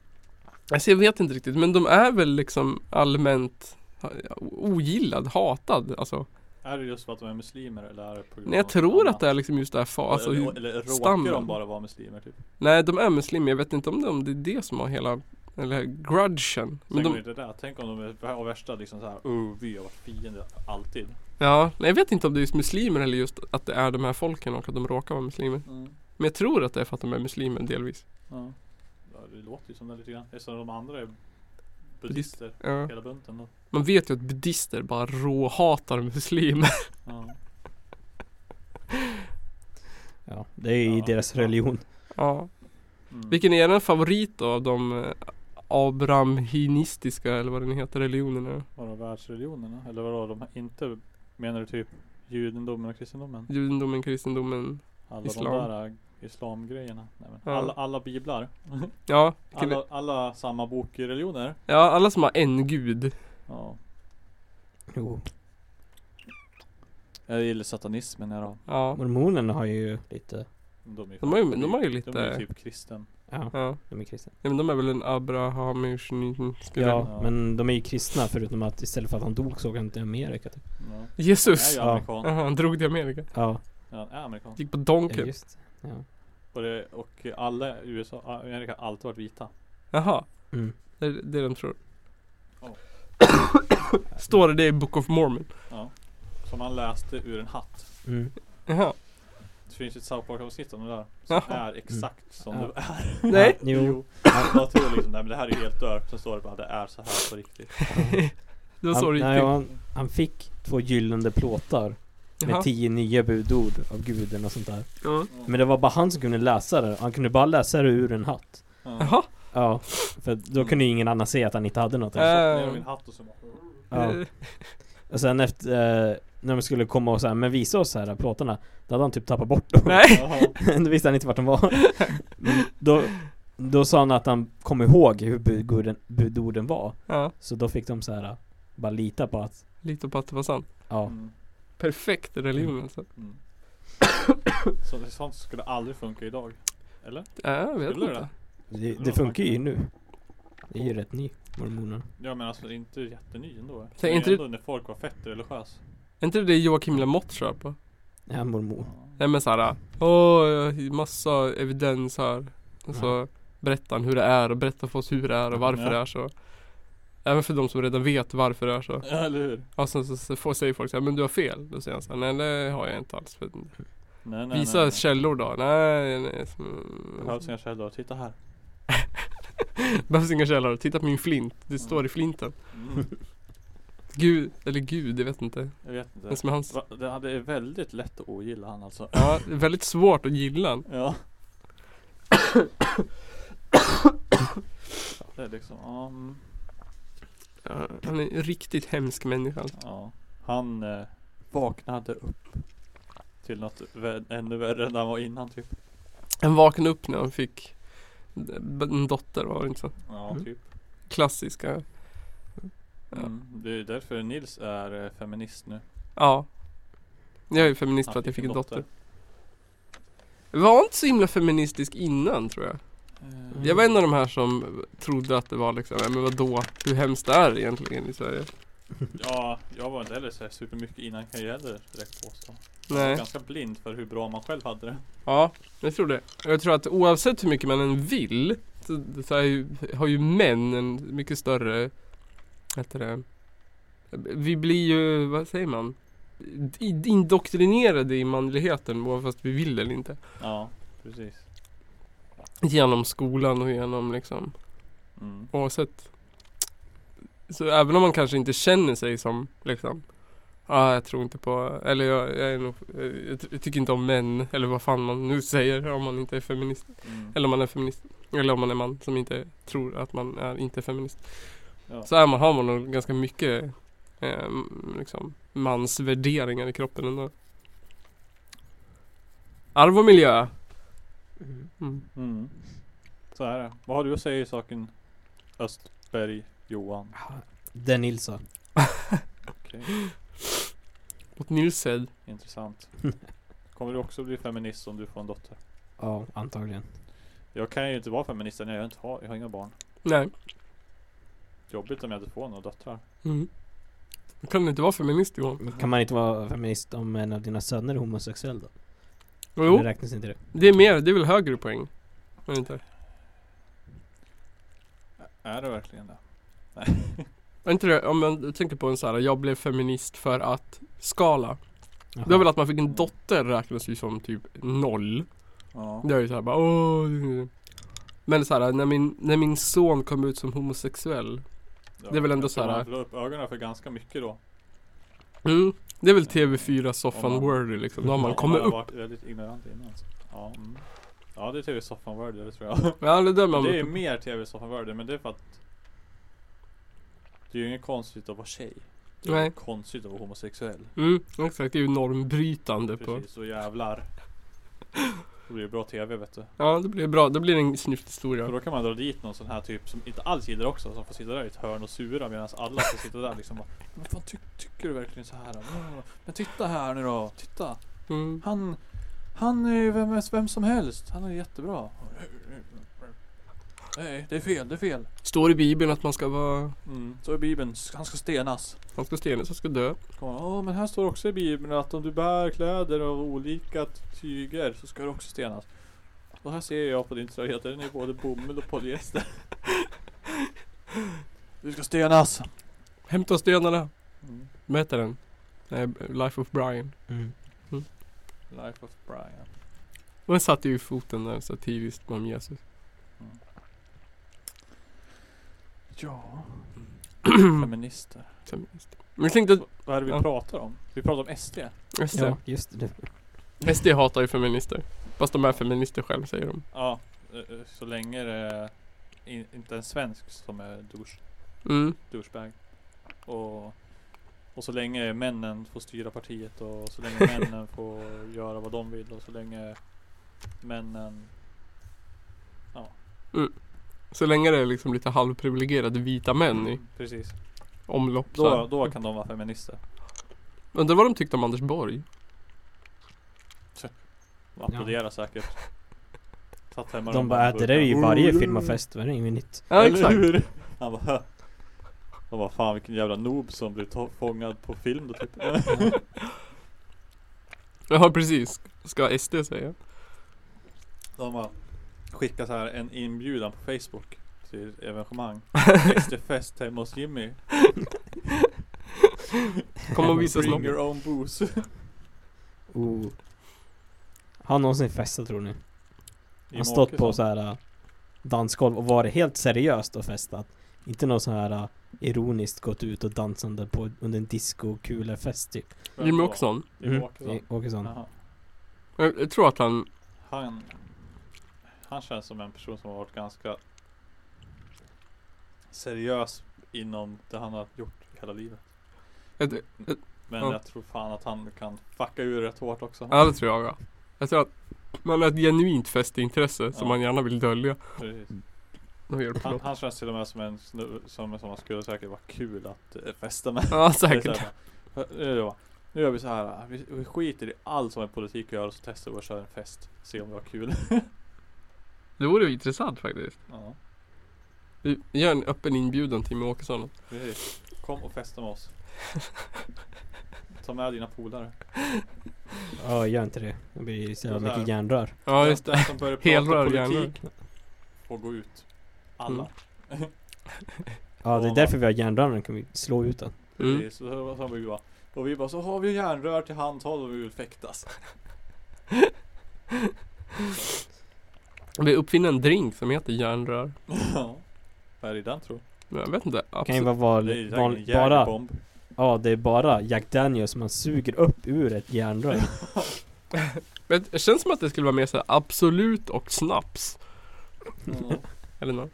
Alltså jag vet inte riktigt men de är väl liksom allmänt ha- Ogillad, hatad alltså
Är det just för att de är muslimer eller är det på grund
Nej jag
av
tror
något
att det är liksom just det här fa- alltså,
eller,
hur,
eller råkar
stammen.
de bara vara muslimer typ?
Nej de är muslimer, jag vet inte om det, om det är det som har hela Eller grudgen
Sen
men
går ju
de,
det där. Tänk om de är vär- värsta liksom såhär oh, vi har varit fiender alltid.
Ja, nej jag vet inte om det är just muslimer eller just att det är de här folken och att de råkar vara muslimer
Mm.
Men jag tror att det är för att de är muslimer delvis
Ja. ja. Det låter ju som det lite grann. Eftersom de andra är buddhister.
ja.
Hela bunten då.
Man vet ju att buddhister bara råhatar muslimer
Ja.
Ja, det är ju i
Ja,
deras
fan.
religion.
Ja
Mm.
Vilken är den favorit då av de eh, abrahaministiska eller vad den heter religionerna?
Vadå världsreligionerna? Eller vadå de här inte? Menar du typ judendomen och kristendomen?
Judendomen, kristendomen.
Alla de
Islam.
där äh, islamgrejerna? Nej, men
Ja.
alla, alla biblar?
Ja, vilken
Alla, alla samma bokreligioner?
ja, alla som har en gud.
Ja.
Jo.
Jag gillar satanismen här då.
Ja,
Mormonerna har ju lite
De är,
De har ju-
fan-
de har ju
De
lite-
är typ kristen.
Ja,
Ja.
de är kristna.
ja men de är väl en abrahamisk skulle
Ja,
Ja.
men de är ju kristna förutom att istället för att han dog såg han till Amerika typ.
Ja. Han är
Jesus!
ju
Ja.
amerikan.
Aha, han drog till Amerika.
Ja,
Ja, han är amerikan.
Gick på
ja,
Donken.
just. Ja.
Och, det, och alla i USA, Amerika har alltid varit vita.
Jaha.
Mm.
Det är det de tror.
Ja.
Står det det i Book of Mormon?
Ja. Som han läste ur en hatt.
Mm.
Jaha.
Det finns ett South Park avsnitt om det där. Som
Jaha.
är exakt som
Ja.
det är.
Nej.
Ja, jo.
Jag tror liksom, nej men det här är helt dört. Sen står det bara, det är så här på riktigt.
Det var så
Han,
det gick
nej,
till.
han, han fick två gyllene plåtar
Jaha.
med tio nya budord av guden och sånt där.
Ja.
Men det var bara han som kunde läsa det. Han kunde bara läsa det ur en hatt.
Ja.
Jaha.
Ja, för då kunde ju ingen annan se att han inte hade något.
Ner med
Äh,
min hatt och så bara,
Ja.
eh,
Och sen efter, eh, när de skulle komma och så här, men visa oss så här plåtarna Då hade han typ tappat bort dem
Nej.
"Jaha."
Då visste han inte vart de var men då, då sa han att han kom ihåg hur budorden, budorden var
Ja.
Så då fick de så här bara lita på att,
Lite på att det var sant.
ja
Mm,
Perfekt religion alltså.
mm. Så det- sånt skulle aldrig funka idag. Eller?
Ja, jag vet
Skulle det?
inte.
Det, det funkar ju nu Det är ju rätt ny, mormonerna
Ja men alltså det är inte jätteny ändå.
Tänk
Det är
inte-
ändå när folk var fett religiös.
Är inte det det Joakim Lamotte kör på?
Ja, mormon
Nej men såhär, åh, jag har massa evidens här. Och så berättar han hur det är och berättar för oss hur det är och varför
Ja.
det är så. Även för de som redan vet varför det är så.
Ja, eller hur?
Och sen så, så får, säger folk såhär, men du har fel. Då säger han såhär, nej det har jag inte alls. För,
Nej, nej,
visa
nej, nej.
källor då. Nej, nej.
Det
mm.
behövs inga källor. Titta här.
Behövs inga källor. Titta på min flint. Det står i flinten.
Mm,
Gud, eller gud, jag vet inte.
jag vet inte.
Den som är hans.
Va- Det hade- det är väldigt lätt att ogilla han alltså.
Ja, det är väldigt svårt att gilla han.
Ja. Det är liksom, ja. mm,
Ja, Han är en riktigt hemsk människa. alltså.
ja. Han eh, vaknade upp till något vä- ännu värre än han var innan typ.
Han vaknade upp när han fick en dotter, var det inte så?
Ja,
Mm.
typ.
Klassiska. Ja.
Mm. Det är därför Nils är eh, feminist nu.
Ja. Jag är ju feminist
Han
för att jag fick en dotter. Jag var inte så himla feministisk innan tror jag.
Eh,
Jag var en av de här som trodde att det var liksom, ja, men vadå, hur hemskt det är egentligen i Sverige?
Ja, jag var inte heller så här supermycket innan kan jag heller direkt påstå. Jag var
Nej.
ganska blind för hur bra man själv hade det.
Ja, jag tror det. Jag tror att oavsett hur mycket man än vill så, så är ju, har ju män en mycket större, vad heter det, vi blir ju, vad säger man? I- Indoktrinerade i manligheten bara fast vi vill eller inte.
Ja, precis.
Genom skolan och genom liksom
Mm.
oavsett. Så även om man kanske inte känner sig som liksom Ja, ah, jag tror inte på, eller jag, jag är nog, jag, jag tycker inte om män, eller vad fan man nu säger om man inte är feminist.
Mm.
Eller om man är feminist. Eller om man är man som inte tror att man är inte feminist.
Ja.
Så är man, har man nog ganska mycket eh, m- liksom, mansvärderingar i kroppen ändå. Arv och miljö. Mm.
Mm. Så är det. Vad har du att säga i saken Östberg Johan?
Den Nilsson
Okej,
Åt Nilsed.
intressant. Kommer du också bli feminist om du får en dotter?
Ja, antagligen
Jag kan ju inte vara feminist när jag inte har, jag har inga barn.
Nej.
Jobbigt om jag inte får några döttrar.
Mm. Kan du inte vara feminist Johan?
Men Kan man inte vara feminist om en av dina söner är homosexuell då?
Jo,
Eller räknas inte det?
det är mer, det är väl högre poäng? Är det inte?
Är det verkligen det?
Är inte det, om man tänker på en så här, jag blev feminist för att skala. Det
Jaha.
var väl att man fick en dotter räknas ju som typ noll.
Ja.
Det är ju såhär bara åh. Men såhär när min, när min son kom ut som homosexuell det är väl ändå
jag tror
så här-
Man la upp ögonen för ganska mycket då.
mm, Det är väl TV4 soffan
Om man-
worthy liksom, då har man
Ja,
kommit
har
upp
varit väldigt ignorant innan. så. Ja, mm. ja det är TV-soffan World det tror jag.
Ja det är där man
det är
upp.
mer TV-soffan World men det är för att Det är ju inget konstigt att vara tjej. Det är
Nej.
inget konstigt att vara homosexuell.
Mm, exakt, det är ju normbrytande på
Precis, och jävlar. Det blir bra TV vet du.
Ja det blir bra, det blir en
För
snyfthistoria
då kan man dra dit någon sån här typ som inte alls gillar också, som får sitta där i ett hörn och sura medan alla får sitta där liksom bara, Men fan ty- tycker du verkligen så här? Då? Mm, Men titta här nu då, titta!
mm.
Han, han är ju vem, vem som helst. Han är jättebra. Nej, det är fel, det är fel.
Står i bibeln att man ska vara,
Mm. Så i bibeln, han ska stenas.
man ska stenas, man ska dö.
Så kommer han, Åh, men här står också i bibeln att om du bär kläder av olika tyger så ska du också stenas. Och här ser jag på din tröja att den är både bomull och polyester. Du ska stenas!
Hämta stenarna.
Mm.
Vad heter den? Nej,
Eh,
Life of Brian.
Mm.
Life of Brian.
Den satte ju foten där satiriskt om Jesus.
Ja. Mm. Feminister.
Feminist. Men jag tänkte
Vad är det vi
Ja.
pratar om? Vi pratar om SD.
att SD,
Ja, just det.
SD hatar ju feminister. Fast de är feminister själv säger de.
Ja, eh, eh, så länge det är in, inte en svensk som är douche,
Mm.
douchebag. Och, och så länge männen får styra partiet och så länge männen får göra vad de vill och så länge männen...
Så länge det är liksom lite halvprivilegierade vita män i
Precis.
omlopp så
Då,
här.
då kan de vara feminister.
Undrar vad de tyckte om Anders Borg?
Och applådera säkert. Satt hemma
De bara, "Äh, det där är ju varje firmafest, det är inget nytt.
Ja
Eller
exakt.
hur? Han bara "Hö." Han bara fan vilken jävla noob som blev to- fångad på film då typ.
Ja precis. Ska SD säga.
De har skickat så här en inbjudan på Facebook till ett evenemang. Fest hemma hos Jimmy.
Kom och visa
Bring
snoppen.
your own booze.
Oh. Har han någonsin festat tror ni?
Jim
Han stått på
Åkesson.
så här äh, dansgolv och varit helt seriöst och festat. Inte något så här äh, ironiskt gått ut och dansande på under en discokulefest typ.
Vem
Jimmy
då?
Åkesson.
Jimmy
Mm.
Åkesson.
Åkesson.
Jaha.
Jag, jag tror att han,
Han, han känns som en person som har varit ganska seriös inom det han har gjort hela livet.
jag, jag,
Men
Ja.
jag tror fan att han kan fucka ur rätt hårt också.
ja det tror jag ja. Jag tror att man har ett genuint festintresse som
Ja.
man gärna vill dölja.
Precis.
De gör det på
Han,
något.
han känns till och med som en snubbe som, som skulle säkert vara kul att eh, festa med.
Ja
Det är
säkert.
så här bara, "Hör- nu då, Nu gör vi så här. Vi, vi skiter i allt som har med politik att göra och så testar vi att köra en fest. Se om det var kul.
Det vore ju intressant faktiskt.
ja,
Vi gör en öppen inbjudan till Jimmie Åkesson.
precis. Kom och festa med oss. Ta med dina polare.
Ja, gör inte det. Det blir så jävla
Det där.
mycket järnrör.
Ja just det.
Den som börjar prata
Helrör,
politik
järnrör.
får gå ut.
Mm.
Alla.
Ja, det är därför vi har järnröraren, kan vi slå ut den.
Mm.
Precis. Så, så, så vi bara, och vi bara så har vi järnrör till handhåll och vi vill fäktas.
Vi uppfinner en drink som heter järnrör.
Ja. Vad är det i den tror?
Men Jag vet inte.
Kan ju
Absolut.
vara
Det är ju
val,
säkert en
val, bara...
jägerbomb.
Ja, det är bara Jack Daniels man suger upp ur ett järnrör.
Men det känns som att det skulle vara mer såhär Absolut och snaps.
Ja.
Eller något.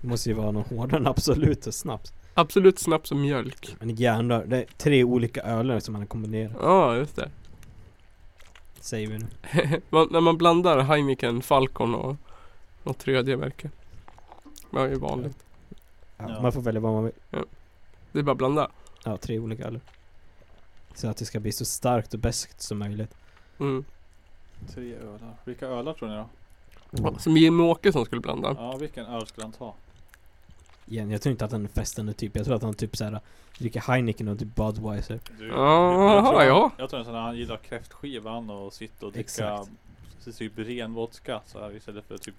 Det måste ju vara någon hårdare än Absolut och snaps.
Absolut snaps och mjölk.
Men järnrör, det är tre olika öler som man kombinerar.
Ja just det.
Säger vi nu.
man, när man blandar Heineken, Falcon och något tredje märke. Ja, det är vanligt.
Ja,
Ja.
Man får välja vad man vill.
Det är bara att blanda.
Ja, tre olika öler. Så att det ska bli så starkt och bäst som möjligt.
Mm.
Tre ölar. Vilka ölar tror ni då?
Som Jimmy Åkesson skulle blanda.
Ja, vilken öl skulle han ta?
Igen, jag tror inte att han är festande typ. Jag tror att han typ såhär dricker Heineken och typ Budweiser.
Du,
Jaha,
jag tror han-
ja.
Jag tror nästan att han gillar kräftskivan och sitta och dricka
Exakt.
typ ren vodka så här, istället för typ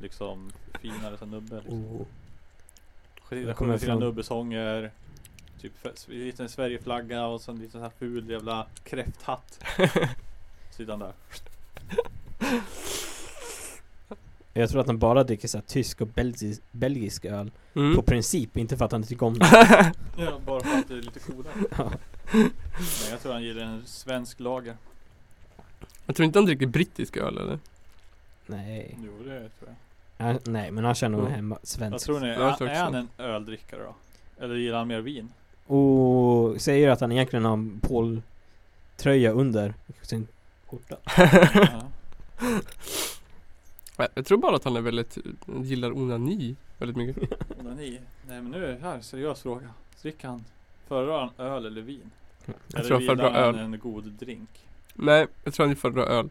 liksom finare så här nubbe. Liksom.
Oh.
Oh,
jag kommer
sina
fram-
nubbesånger. Typ fe- en liten Sverigeflagga och så en liten så här ful jävla kräfthatt. Sidan där.
Jag tror att han bara dricker såhär tysk och belgisk, belgisk öl.
Mm.
På princip, inte för att han inte tycker om det.
Ja, bara för att det är lite coolare.
Ja.
Nej, jag tror han gillar en svensk lager.
Jag tror inte han dricker brittisk öl eller?
Nej.
Jo, det tror jag.
Han, nej, men han känner nog
Mm.
hemma
Vad
svensk.
tror ni?
Jag tror
Är
också.
han en öldrickare då? Eller gillar han mer vin?
Och säger att han egentligen har en poltröja under sin skjorta.
Ja.
Nej, Jag tror bara att han är väldigt, gillar onani väldigt mycket.
Onani? Nej men nu är det här en seriös fråga. Dricker han, föredrar han öl eller vin?
Jag tror han
gillar
föredrar
han
öl.
en god drink?
Nej, jag tror han föredrar öl.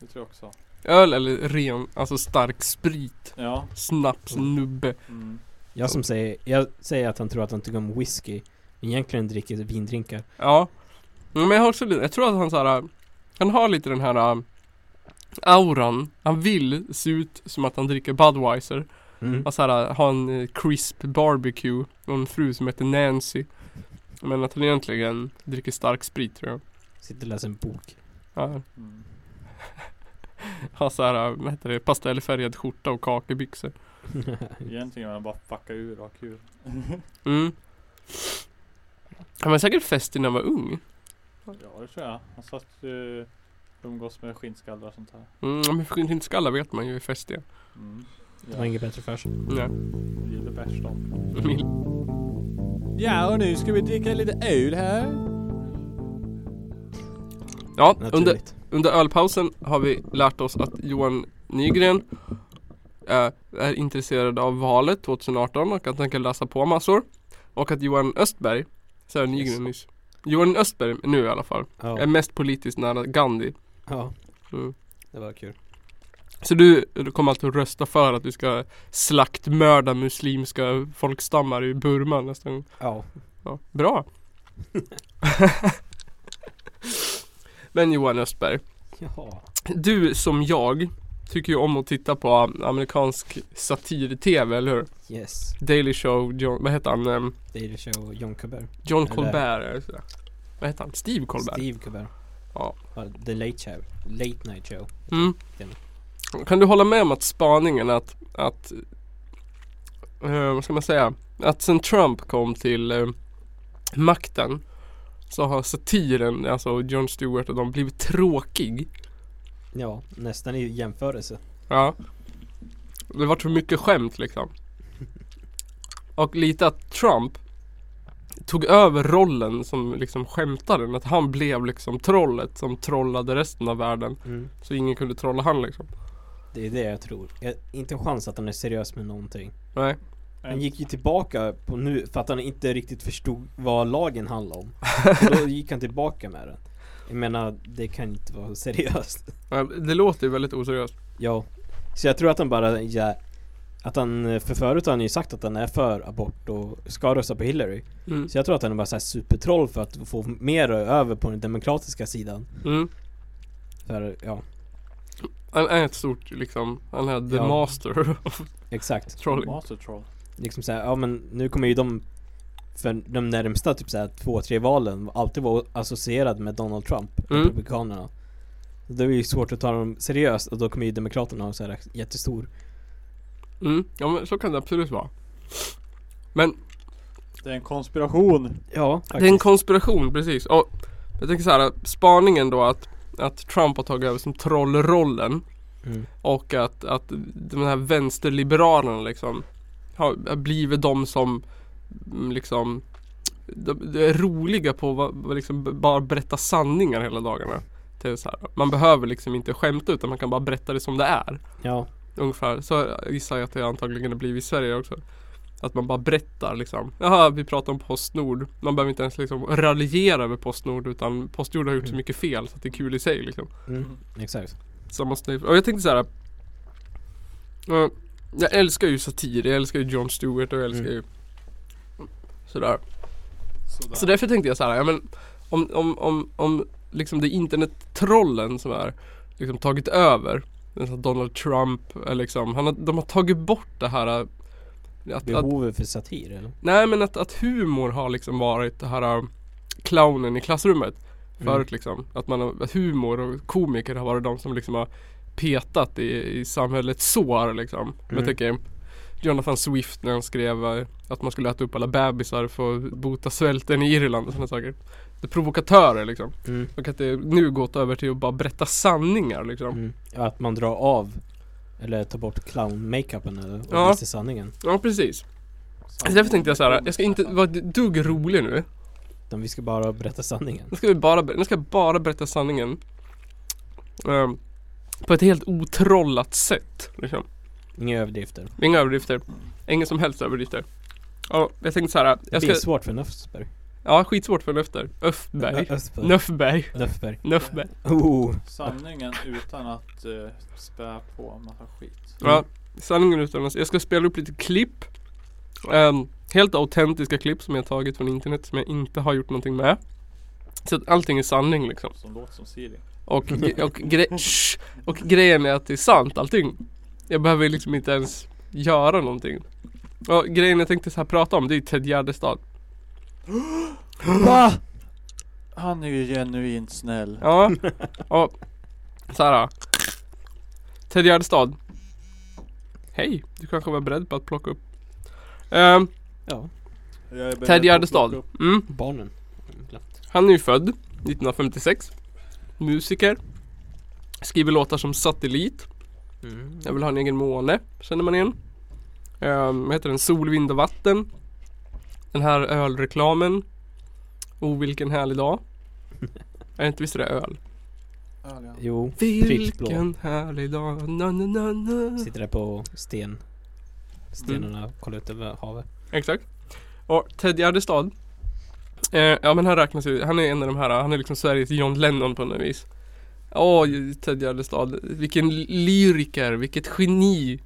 Det tror jag också.
Öl eller ren, alltså stark sprit.
Ja.
Snaps, nubbe.
Mm.
Jag som säger, jag säger att han tror att han tycker om whisky. Men egentligen dricker vindrinkar.
Ja. Mm, Men jag har också lite, jag tror att han så här, han har lite den här äh, auran. Han vill se ut som att han dricker Budweiser.
Mm.
Han så här, har en eh, crisp barbecue och en fru som heter Nancy. Men att han egentligen dricker stark sprit tror jag.
Sitter och läser en bok.
Ja,
Mm.
har så här, äh, vad heter det, pastellfärgad skjorta och kakebyxor.
Egentligen har han bara fuckat ur och ha kul.
Mm. Han var säkert festig när han var ung.
Ja det tror jag. Han satt uh, umgås med skinnskallar och sånt här.
Mm, men för inte skalla vet man ju är festiga.
Mm.
Det var
Ja,
inget bättre för sig.
Nej.
gillar bärs de.
Mm.
Ja och nu ska vi dricka lite öl här.
Ja, under,
Naturligt.
Under ölpausen har vi lärt oss att Johan Nygren eh, är intresserad av valet 2018 och att han kan läsa på massor. Och att Johan Östberg, säger Nygren
Yes.
nyss, Johan Östberg nu i alla fall, är
Ja.
mest politiskt nära Gandhi.
ja.
Mm.
Det var kul.
Så du, du kommer alltid att rösta för att du ska slaktmörda muslimska folkstammar i Burma nästa gång?
Ja.
Ja, bra! Men Johan Östberg,
Ja.
Du som jag tycker ju om att titta på um, amerikansk satir-tv, eller hur?
Yes.
Daily Show, John, vad heter han? Um,
Daily Show och John Colbert.
John
Eller-
Colbert, eller sådär. Vad heter han? Steve Colbert?
Steve Colbert.
Ja.
The Late Show. Late Night Show.
Mm. Kan du hålla med om att spaningen att, att eh, vad ska man säga? Att sen Trump kom till eh, makten så har satiren, alltså John Stewart och de blivit tråkig.
Ja, nästan i jämförelse.
Ja. Det vart för mycket skämt liksom. Och lite att Trump tog över rollen som liksom skämtaren. Att han blev liksom trollet som trollade resten av världen.
Mm.
Så ingen kunde trolla han liksom.
Det är det jag tror. Jag, inte en chans att han är seriös med någonting.
Nej.
Han gick ju tillbaka på nu för att han inte riktigt förstod vad lagen handlade om. Och då gick han tillbaka med den. Jag menar, det kan inte vara seriöst.
Nej, Det låter ju väldigt oseriöst.
Ja. Så jag tror att han bara, ja, att han, för förut har han ju sagt att han är för abort och ska rösta på Hillary.
Mm.
Så jag tror att han är bara så här supertroll för att få mer över på den demokratiska sidan.
Mm.
För, ja,
Han är ett stort liksom, han är the
Ja.
master of
exakt.
trolling.
Master troll.
liksom såhär, ja men nu kommer ju de för de närmsta typ såhär två, tre valen alltid vara associerad med Donald Trump,
Mm.
Republikanerna. Då är det ju svårt att ta dem seriöst och då kommer ju Demokraterna ha såhär jättestor
Mm. Ja men så kan det absolut vara. Men
Det är en konspiration.
Ja,
Det är en konspiration, precis. Och jag tänker så här, spaningen då att, att Trump har tagit över som trollrollen
mm.
och att, att de här vänsterliberalerna liksom har har blivit de som mm, liksom de, de är roliga på vad, vad liksom b- bara berätta sanningar hela dagarna. Det är så här, man behöver liksom inte skämta utan man kan bara berätta det som det är.
Ja,
Ungefär så gissar jag att det antagligen har blivit i Sverige också. Att man bara berättar liksom. Jaha, vi pratar om Postnord. Man behöver inte ens liksom raljera över Postnord utan Postnord har gjort så
Mm.
mycket fel så att det är kul i sig liksom.
mm. exakt
Så man måste, och jag tänkte så här. eh, Jag älskar ju satir, jag älskar ju Jon Stewart och jag älskar
Mm.
ju sådär.
Sådär.
Så därför tänkte jag så här, ja men om, om, om, om liksom det är internettrollen som är liksom tagit över alltså Donald Trump är liksom, han har, de har tagit bort det här äh, att, att,
Behovet för satir eller?
Nej men att, att humor har liksom varit det här äh, clownen i klassrummet
Mm.
Förut liksom, att, man, har- att humor och komiker har varit de som liksom har petat i, i samhällets sår liksom Jag
Mm.
tänker Jonathan Swift när han skrev eh, att man skulle äta upp alla bebisar för att bota svälten i Irland och sådana saker Det är provokatörer liksom
Mm.
Och att det nu gått över till att bara berätta sanningar liksom
Mm. Ja, Att man drar av eller tar bort clown-makeupen eller och
Ja.
visar sanningen
Ja precis Så Därför tänkte jag så här, jag ska inte vara ett dugg rolig nu
Utan vi ska bara berätta sanningen
Nu ska vi bara, ber- nu ska jag bara berätta sanningen Ehm, På ett helt otrollat sätt liksom.
Inga överdrifter
Inga överdrifter Inga som helst överdrifter Ja, jag tänkte så här, jag
Det är
ska
svårt för Nöfsberg
Ja, skitsvårt för Nöfter. Öfberg.
Östberg.
Nöfberg.
Nöffberg.
Nöfberg.
Oh.
Sanningen utan att eh, spä på en massa skit.
Ja, sanningen utan att- Jag ska spela upp lite klipp. Ehm, helt autentiska klipp som jag tagit från internet som jag inte har gjort någonting med. Så att allting är sanning liksom.
Som låter som Siri.
Och, gre- och, gre- shh. och grejen är att det är sant allting. Jag behöver liksom inte ens göra någonting. Och grejen jag tänkte så här prata om det är ju Ted Gärdestad.
Va?
Han är ju genuint snäll.
Ja, och så här. Ted Gärdestad. Hej, du kanske var beredd på att plocka upp. Ehm,
Ja,
Jag är beredd
Ted
att
Gärdestad.
plocka upp-
Mm.
barnen. Glatt.
Han är ju född 1956 Musiker Skriver låtar som Satellit
Mm.
Jag vill ha en egen måne Känner man igen Ehm, Vad heter den? Sol, vind och vatten Den här ölreklamen O vilken härlig dag Är det inte visst är det öl?
Ärliga.
Jo, Pripsblå.
Vilken härlig dag na, na, na, na.
sitter där på sten. Stenarna och kollar ut över havet.
Exakt. Och Ted Gärdestad. Eh, ja men han räknas ju, han är en av de här, han är liksom Sveriges John Lennon på något vis. Åh Ted Gärdestad, vilken lyriker, vilket geni.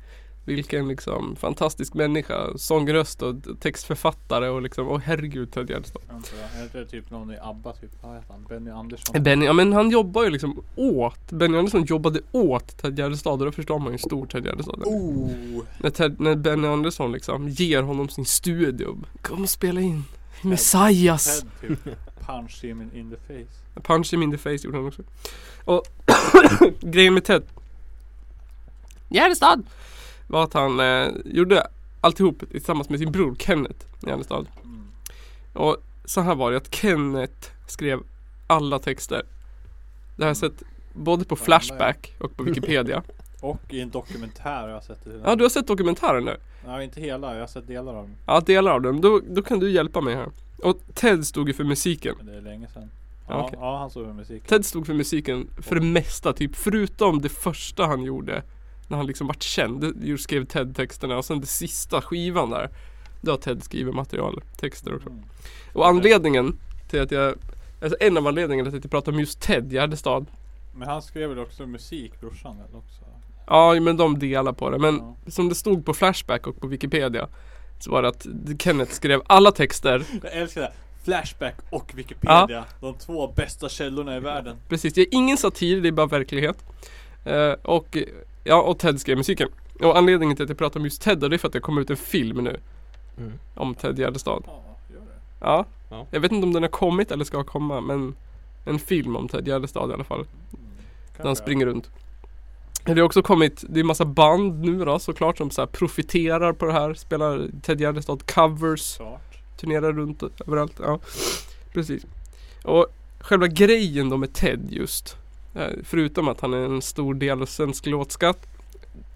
Vilken liksom fantastisk människa, sångröst och textförfattare och liksom, åh herregud Ted Gärdestad.
Vänta, är det typ någon i ABBA typ? Vad heter han? Benny Andersson?
Benny, ja men han jobbar ju liksom åt, Benny Andersson jobbade åt Ted Gärdestad och då förstår man ju hur stor Ted Gärdestad är.
Oh!
När, Ted, när Benny Andersson liksom ger honom sin studio. Kom och spela in Messias.
Ted typ punch him in- in the face.
Punch him in the face gjorde han också. Och grejen med Ted Gärdestad var att han eh, gjorde alltihop tillsammans med sin bror Kenneth Gärdestad.
Mm.
Och så här var det att Kenneth skrev alla texter. Det har jag sett både på Flashback och på Wikipedia.
Och i en dokumentär har jag sett det.
Ja, du har sett dokumentären nu?
Nej, inte hela. Jag har sett delar av den.
Ja, delar av den. Då, då kan du hjälpa mig här. Och Ted stod ju för musiken.
Men det är länge sedan.
Ja,
Ja,
okej.
ja han såg musik.
Ted stod för musiken för det mesta typ, förutom det första han gjorde när han liksom vart känd, Det- just skrev Ted texterna och sen det sista skivan där Då har Ted skrivit material, texter också.
Mm.
Och anledningen till att jag, alltså en av anledningarna till att jag pratar om just Ted Gärdestad
Men han skrev väl också musik, brorsan? Eller också?
Ja men de delar på det, men
Ja.
som det stod på Flashback och på Wikipedia Så var det att Kenneth skrev alla texter
Jag älskar det. Flashback och Wikipedia. De två bästa källorna i världen.
Precis, det är ingen satir, det är bara verklighet. Eh, och, ja, och Ted skrev musiken. Och anledningen till att jag pratar om just Ted då, det är för att det kommer ut en film nu.
Mm.
Om Ted Gärdestad.
Ja, gör det.
Ja.
Ja.
Jag vet inte om den har kommit eller ska komma, men en film om Ted Gärdestad i alla fall. Där han
Kanske.
springer runt. Det har också kommit, det är massa band nu då såklart som så här profiterar på det här. Spelar Ted Gärdestad covers
Klart.
turnerar runt överallt. Ja, precis. Och själva grejen då med Ted just. eh, Förutom att han är en stor del av svensk låtskatt.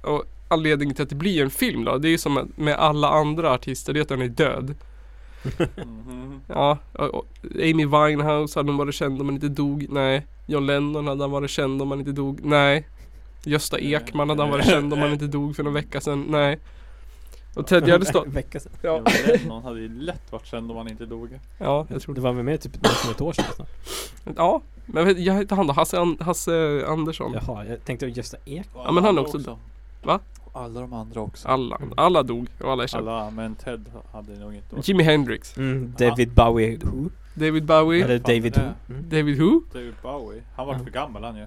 Och anledningen till att det blir en film då. Det är ju som att- med alla andra artister. Det är att han är död.
Mhm.
Ja, och, och Amy Winehouse hade han varit känd om han inte dog. Nej. John Lennon hade han varit känd om han inte dog. Nej. Gösta Ekman hade han varit känd om han inte dog för någon vecka sedan. Nej. Och Ted Gärdestad.
En vecka sedan.
Ja.
Jag vet, Någon hade ju lätt varit känd om han inte dog.
ja, jag tror
Det var väl mer typ nästan ett år sedan snart.
Ja, men vet- jag heter han då? Hasse, An- Hasse Andersson?
Jaha, jag tänkte Gösta Ek.
Och
Ja, men han
alla
också. Va?
Och Alla de andra också.
Alla, alla dog och alla är kända.
Alla, men Ted hade nog inte varit
Jimi Hendrix,
Mm, David Bowie Who?
David Bowie,
Eller
fan är
David Who?
det?
Mm.
David Who?
David Bowie. Han var för gammal han ju.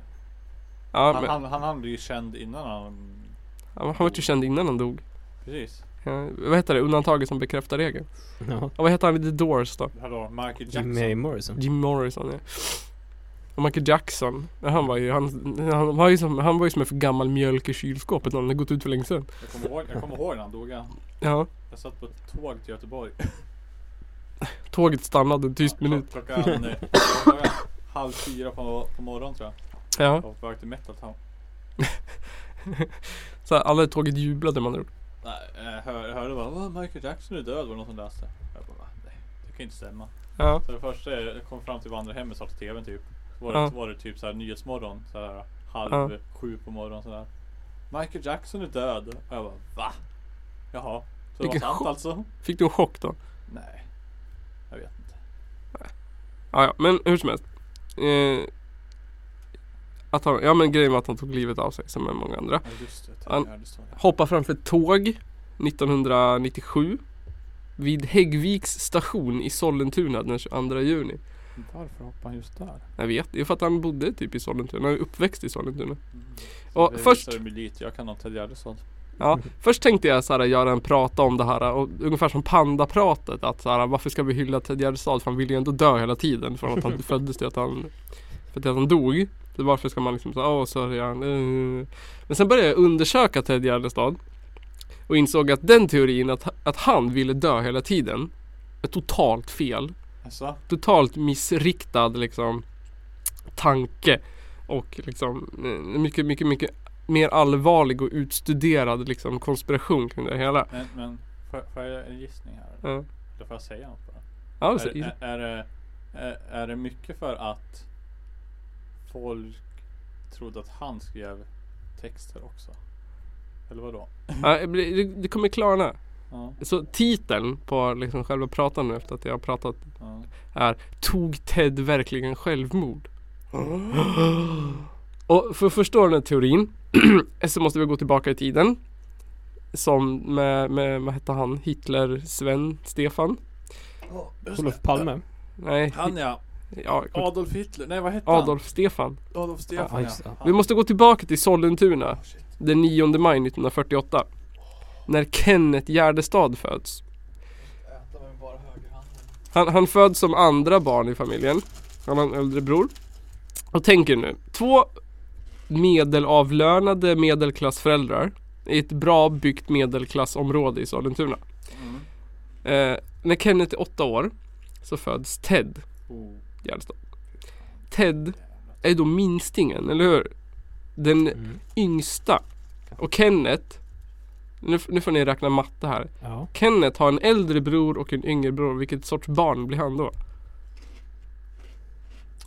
Ja,
Han,
men,
han, han, han blev ju känd innan han...
han var ju känd innan han dog.
Precis.
Ja, vad heter det? Undantaget som bekräftar regeln.
Ja.
Och vad heter han i The Doors då?
Hallå, Michael Jackson.
Jimmy Morrison.
Jim Morrison ja. Och Michael Jackson, ja, han var ju, han, han var ju som, han var ju som en för gammal mjölk i kylskåpet. Han hade gått ut för länge sedan.
Jag kommer ihåg, jag kommer ihåg när han dog. ja.
Ja,
Jag satt på ett tåg till Göteborg.
tåget stannade en tyst minut.
Klockan eh, klockan halv fyra på, på morgonen tror jag.
Ja,
Jag var på väg till Metal Town.
så här, alla i tåget jublade man ord.
Nej, jag hör- jag hörde bara "Åh, Michael Jackson är död var det någon som läste. Jag bara "Va? nej, det kan ju inte stämma.
Ja,
Så det första är- jag kom fram till vandrarhemmet och satte tvn typ. Så var,
Ja.
det, så var det typ såhär nyhetsmorgon. Såhär halv
Ja.
sju på morgonen sådär. Michael Jackson är död. Och jag bara va? Jaha. Så det
Vilken
var sant
chock.
alltså?
fick du en chock då?
Nej. Jag vet inte.
Ja, ja, men hur som helst. Eh, att han, ja men grejen var att han tog livet av sig som med många andra.
Ja, just det.
Han-
Ja, det står det.
Hoppade framför ett tåg 1997 vid Häggviks station i Sollentuna den 22 juni.
Varför hoppar han just där?
Jag vet, det är för att han bodde typ i Sollentuna, han är uppväxt i Sollentuna.
Så
Och
det
först-
visar mig lite. Jag kan något Ted Gärdestad.
Ja, först tänkte jag såhär göra en prata om det här och ungefär som pandapratet att såhär varför ska vi hylla Ted Gärdestad för han ville ju ändå dö hela tiden från att han föddes till att han, för till att han dog. Så varför ska man liksom såhär, åh sörja han. eh." Men sen började jag undersöka Ted Gärdestad och insåg att den teorin att, att han ville dö hela tiden är totalt fel
Alltså,
totalt missriktad liksom tanke och liksom eh, mycket, mycket, mycket mer allvarlig och utstuderad liksom konspiration kring det hela.
men, men får, får jag göra en gissning här?
Ja,
Eller får jag säga något bara?
ja så,
är, är, är, det, är, är det mycket för att folk trodde att han skrev texter också? Eller vadå?
ja, det blir- det, det kommer klarna.
Ja,
Så titeln på liksom själva pratan nu efter att jag har pratat
ja.
är Tog Ted verkligen självmord? Och för att förstå den här teorin så måste vi gå tillbaka i tiden. Som med, med vad hette han? Hitler, Sven, Stefan?
Oh,
Olof Palme.
Nej,
Han ja,
Ja,
Adolf Hitler, nej vad hette
Adolf Stefan.
han? Adolf Stefan
Ja,
ja.
just det.
Vi måste gå tillbaka till Sollentuna
Ah, shit.
den 9 maj 1948. När Kenneth Gärdestad föds. Han, han föds som andra barn i familjen. Han har en äldre bror. Och tänker nu, två medelavlönade medelklassföräldrar i ett bra byggt medelklassområde i Sollentuna.
Mm.
Eh, när Kenneth är åtta år så föds Ted
Oh,
Gärdestad. Ted är då minstingen, eller hur? Den
Mm.
yngsta. Och Kenneth, nu, f- nu får ni räkna matte här.
Ja.
Kenneth har en äldre bror och en yngre bror. Vilket sorts barn blir han då?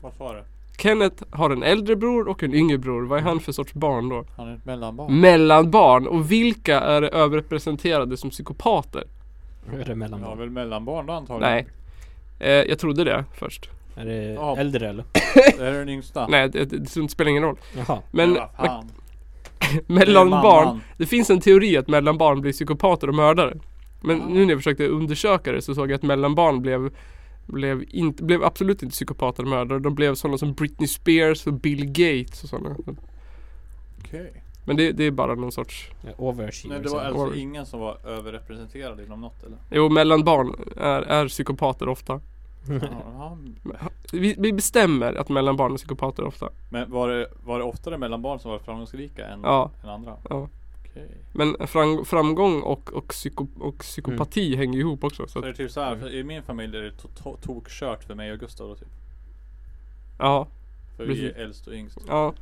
vad var det?
Kenneth har en äldre bror och en yngre bror. Vad är han för sorts barn då?
Han är ett mellanbarn.
Mm. Mellanbarn. Och vilka är överrepresenterade som psykopater?
Är det
Han har
mellanbarn?
väl mellanbarn då antagligen?
Nej. Eh, jag trodde det först.
Är det
Ja.
äldre eller?
Det är den yngsta.
Nej, det, det, det spelar ingen roll.
Jaha.
Men
vad fan.
mellanbarn.
Mamman.
Det finns en teori att mellanbarn blir psykopater och mördare. Men
Ah.
nu när jag försökte undersöka det så såg jag att mellanbarn blev, blev, inte, blev absolut inte psykopater och mördare. De blev sådana som Britney Spears och Bill Gates och sådana.
Okej.
Men det, det är bara någon sorts...
Ja, Overachiever.
Nej, det var
säger
alltså
Or-
ingen som var överrepresenterad inom något eller?
Jo, mellanbarn är, är psykopater ofta.
jag.
Ja, han-
Vi, vi bestämmer att mellanbarn är psykopater ofta.
Men var det, var det oftare mellanbarn som var framgångsrika än,
Ja.
än andra?
Ja.
Okej.
Men fram, framgång och, och, psyko, och psykopati hänger ihop också. Så
Så
att,
det är typ så
Mm.
här, för i min familj är det to- to- tokkört för mig och Gustav då typ.
ja,
För vi
Precis.
är äldst och yngst.
ja.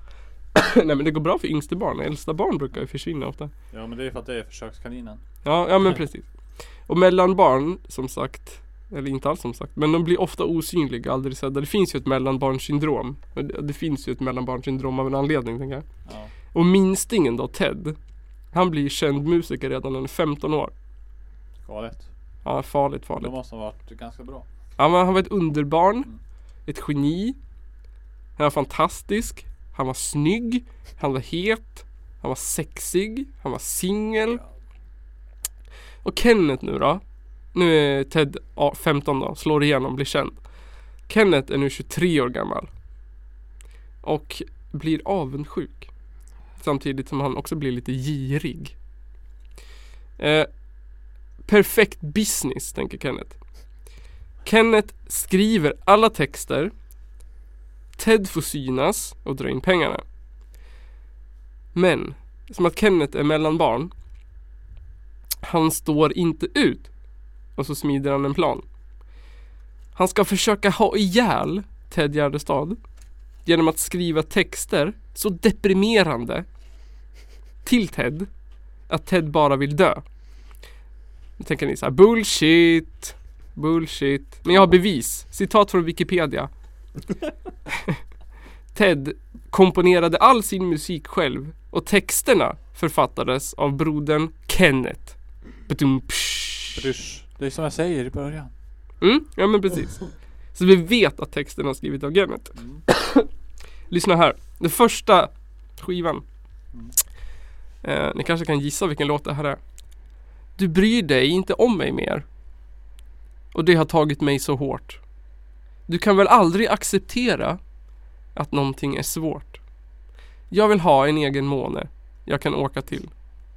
Nej men det går bra för yngste barn. Äldsta barn brukar ju försvinna ofta.
Ja men det är för att det är försökskaninen.
Ja, ja men precis. Och mellanbarn, som sagt, eller inte alls som sagt, men de blir ofta osynliga, aldrig sedda. Det finns ju ett mellanbarnsyndrom. Och Det, det finns ju ett mellanbarnsyndrom av en anledning, tänker jag.
Ja.
Och minstingen då, Ted, han blir känd musiker redan när han är 15 år.
Galet.
Ja, farligt,
Då
farligt.
måste han varit ganska bra.
Ja, men han var ett underbarn,
Mm.
ett geni. Han var fantastisk, han var snygg, han var het, han var sexig, han var singel. Och Kenneth nu då. Nu är Ted ja, 15 då, slår igenom, blir känd. Kenneth är nu 23 år gammal. Och blir avundsjuk. Samtidigt som han också blir lite girig. Eh, perfekt business, tänker Kenneth. Kenneth skriver alla texter. Ted får synas och dra in pengarna. Men, som att Kenneth är mellanbarn han står inte ut. Och så smider han en plan. Han ska försöka ha ihjäl Ted Gärdestad genom att skriva texter så deprimerande till Ted att Ted bara vill dö. Nu tänker ni så här, bullshit, bullshit. Men jag har bevis. Citat från Wikipedia. Ted komponerade all sin musik själv och texterna författades av brodern Kenneth. Badum, psh.
Rysch. Det är som jag säger i början.
Mm, ja men precis. Så vi vet att texten har skrivits av Gennett.
Mm.
Lyssna här. Den första skivan.
Mm.
Eh, ni kanske kan gissa vilken låt det här är. Du bryr dig inte om mig mer. Och det har tagit mig så hårt. Du kan väl aldrig acceptera att någonting är svårt. Jag vill ha en egen måne jag kan åka till.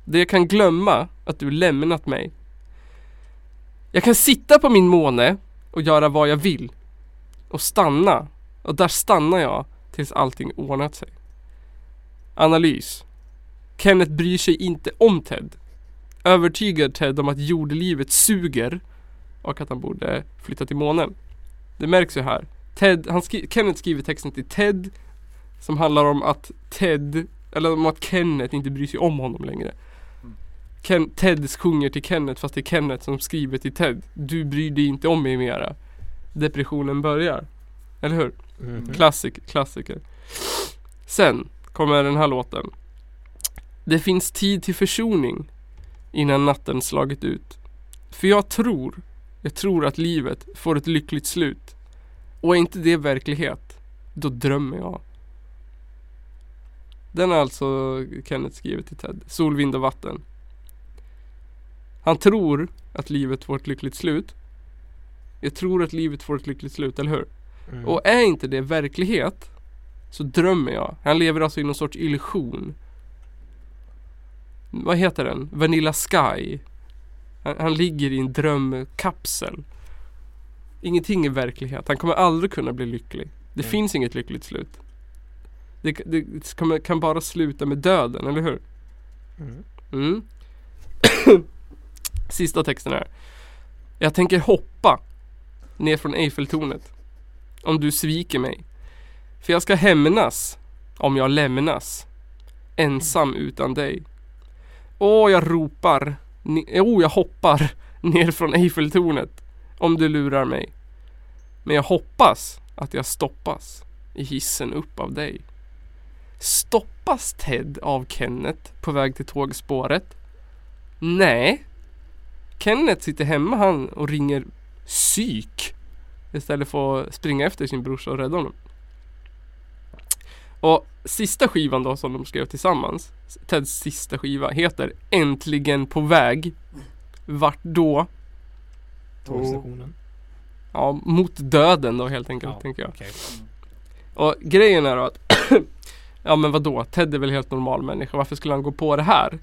Det jag kan glömma att du lämnat mig. Jag kan sitta på min måne och göra vad jag vill. Och stanna. Och där stannar jag tills allting ordnat sig. Analys. Kenneth bryr sig inte om Ted. Övertygar Ted om att jordelivet suger och att han borde flytta till månen. Det märks ju här. Ted, han skri Kenneth skriver texten till Ted som handlar om att Ted, eller om att Kenneth inte bryr sig om honom längre.
Mm.
Ken Ted sjunger till Kenneth fast det är Kenneth som skriver till Ted. Du bryr dig inte om mig mera. Depressionen börjar. Eller hur?
Mhm.
Klassik, klassiker. Sen kommer den här låten. Det finns tid till försoning innan natten slagit ut. För jag tror, jag tror att livet får ett lyckligt slut. Och är inte det verklighet, då drömmer jag. Den har alltså Kenneth skrivit till Ted. Sol, vind och vatten. Han tror att livet får ett lyckligt slut. Jag tror att livet får ett lyckligt slut, eller hur?
Mm.
Och är inte det verklighet så drömmer jag. Han lever alltså i någon sorts illusion. Vad heter den? Vanilla Sky. Han, han ligger i en drömkapsel. Ingenting är verklighet. Han kommer aldrig kunna bli lycklig. Det
Mm.
finns inget lyckligt slut. Det, det kommer, kan bara sluta med döden, eller hur?
Mm.
Mm. Sista texten här. Jag tänker hoppa ner från Eiffeltornet. Om du sviker mig. För jag ska hämnas om jag lämnas. Ensam utan dig. Åh, jag ropar. Åh, oh, jag hoppar ner från Eiffeltornet. Om du lurar mig. Men jag hoppas att jag stoppas i hissen upp av dig. Stoppas Ted av Kenneth på väg till tågspåret? Nej. Kenneth sitter hemma han och ringer psyk istället för att springa efter sin brorsa och rädda honom. Och sista skivan då som de skrev tillsammans, Teds sista skiva, heter Äntligen på väg. Vart då?
Tågstationen.
Ja, mot döden då helt enkelt
Ja.
tänker jag.
Okej.
Och grejen är då att Ja men vadå, Ted är väl helt normal människa, varför skulle han gå på det här?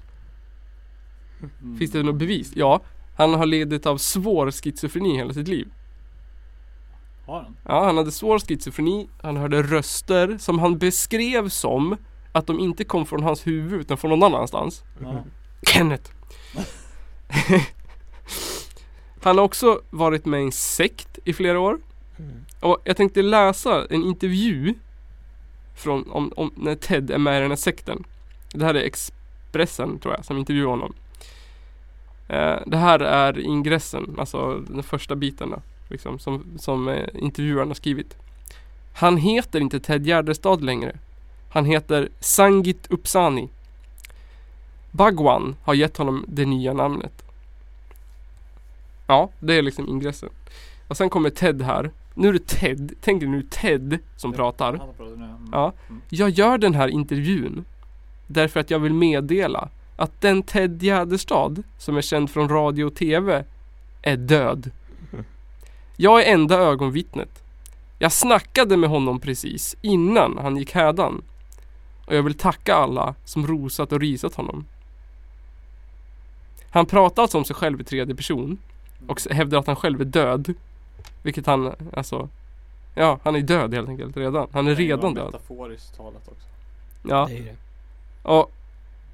Mm.
Finns det något bevis? Ja, han har lidit av svår schizofreni hela sitt liv.
Har han?
Ja, han hade svår schizofreni, han hörde röster som han beskrev som att de inte kom från hans huvud utan från någon annanstans.
Ja.
Kenneth. han har också varit med i en sekt i flera år.
Mm.
Och jag tänkte läsa en intervju från om, om, när Ted är med i den här sekten. Det här är Expressen tror jag som intervjuar honom. Eh, det här är ingressen, alltså den första biten då, liksom, som, som eh, intervjuaren har skrivit. Han heter inte Ted Gärdestad längre. Han heter Sangit Upsani. Bhagwan har gett honom det nya namnet. Ja, det är liksom ingressen. Och sen kommer Ted här. Nu är det Ted, tänk dig nu Ted som
Ja.
pratar.
Han pratar nu. Mm.
Ja. Jag gör den här intervjun därför att jag vill meddela att den Ted Gärdestad som är känd från radio och TV är död. Jag är enda ögonvittnet. Jag snackade med honom precis innan han gick hädan. Och jag vill tacka alla som rosat och risat honom. Han pratar alltså om sig själv i tredje person och s- hävdar att han själv är död. Vilket han, alltså, ja, han är död helt enkelt redan. Han är
Det kan ju vara
redan död.
Metaforiskt talat också.
Ja.
Det är det.
Och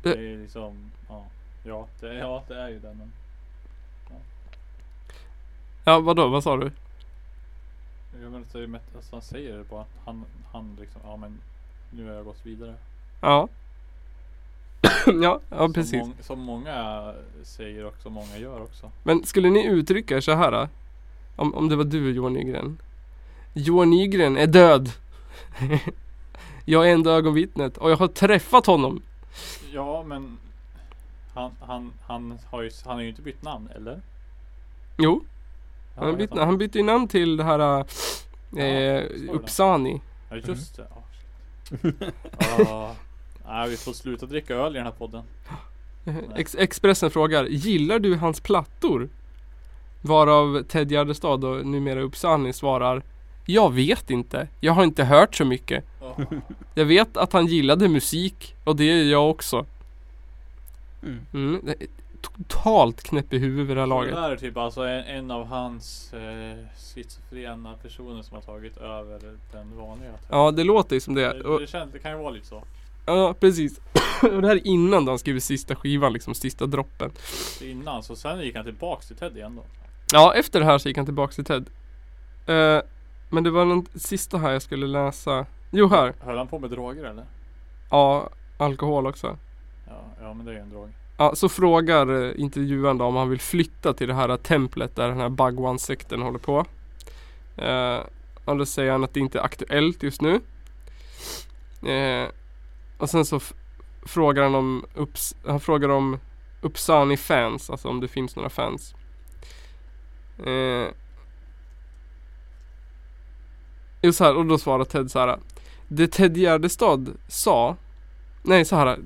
Det är ju liksom, ja. Ja, det är, ja, det är ju det. Men
Ja vadå, vad sa du?
jag menar, att det är ju met- alltså, han säger det bara. Han, han liksom, ja men nu har jag gått vidare.
Ja Ja, ja
som
precis.
mång- som många säger och som många gör också.
Men skulle ni uttrycka er så här då? om, om det var du Johan Nygren? Johan Nygren är död Jag är enda ögonvittnet och jag har träffat honom
Ja, men han, han, han, har ju, han har ju inte bytt namn, eller?
Jo,
Ja,
han,
vad
byt,
heter han?
han bytte ju namn till det här äh, Eh,
så var det.
Uppsani.
Ja just det. Ja, shit. Ja. Nej vi får sluta dricka öl i den här podden.
Ex- Expressen frågar, gillar du hans plattor? Varav Ted Gärdestad och numera Uppsani svarar, jag vet inte. Jag har inte hört så mycket.
Ja.
Jag vet att han gillade musik och det gör jag också.
Mm.
Mm. det är Totalt knäpp i huvudet vid det här laget.
Det där är typ alltså en, en av hans eh, schizofrena personer som har tagit över den vanliga.
Ja, det låter ju som det.
Det,
Och,
det, känns, det kan ju vara lite så.
ja, precis. och det här är innan då han skriver sista skivan, liksom sista droppen.
Innan, så sen gick han tillbaks till Ted igen då.
Ja, efter det här så gick han tillbaka till Ted. Eh, men det var den sista här jag skulle läsa. Jo, här.
Höll han på med droger eller?
Ja, alkohol också.
Ja, ja men det är ju en drog.
Ja, så frågar eh, intervjuaren då om han vill flytta till det här eh, templet där den här Bhagwan-sekten håller på. Eh, och då säger han att det inte är aktuellt just nu. Eh, och sen så f- frågar han om, Ups- han frågar om Uppsani-fans, alltså om det finns några fans. Eh, jo, så här, och då svarar Ted så här. Det Ted Gärdestad sa Nej så här.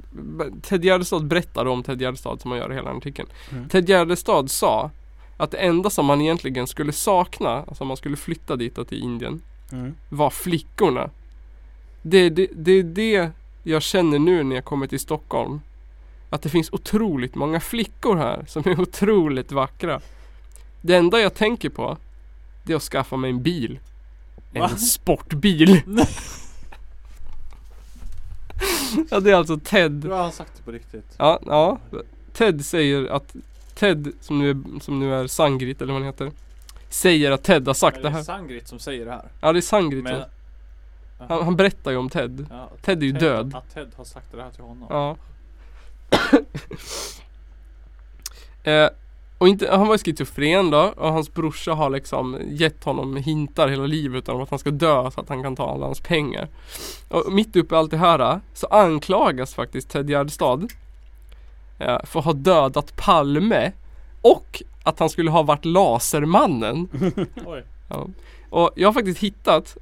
Ted Gärdestad berättade om Ted Gärdestad som man gör i hela artikeln.
Mm.
Ted Gärdestad sa att det enda som man egentligen skulle sakna, alltså om man skulle flytta dit och till Indien,
Mm.
var flickorna. Det är det, det, är det jag känner nu när jag kommer till Stockholm. Att det finns otroligt många flickor här som är otroligt vackra. Det enda jag tänker på, det är att skaffa mig en bil. En
Va?
sportbil. ja, det är alltså Ted.
Tror han sagt det på riktigt?
Ja, ja. Ted säger att Ted, som nu är, som nu är Sangrit eller vad han heter. Säger att Ted har sagt
är
det
det
här.
Sangrit som säger det här?
Ja, det är Sangrit som-
Men,
han, han berättar ju om Ted.
ja,
Ted är ju
Ted,
död.
Att Ted har sagt det här till honom.
Ja. eh, och inte, han var ju schizofren då och hans brorsa har liksom gett honom hintar hela livet om att han ska dö så att han kan ta alla hans pengar. Och mitt uppe i allt det här så anklagas faktiskt Ted Gärdestad eh, för att ha dödat Palme och att han skulle ha varit Lasermannen.
Oj.
Ja. Och jag har faktiskt hittat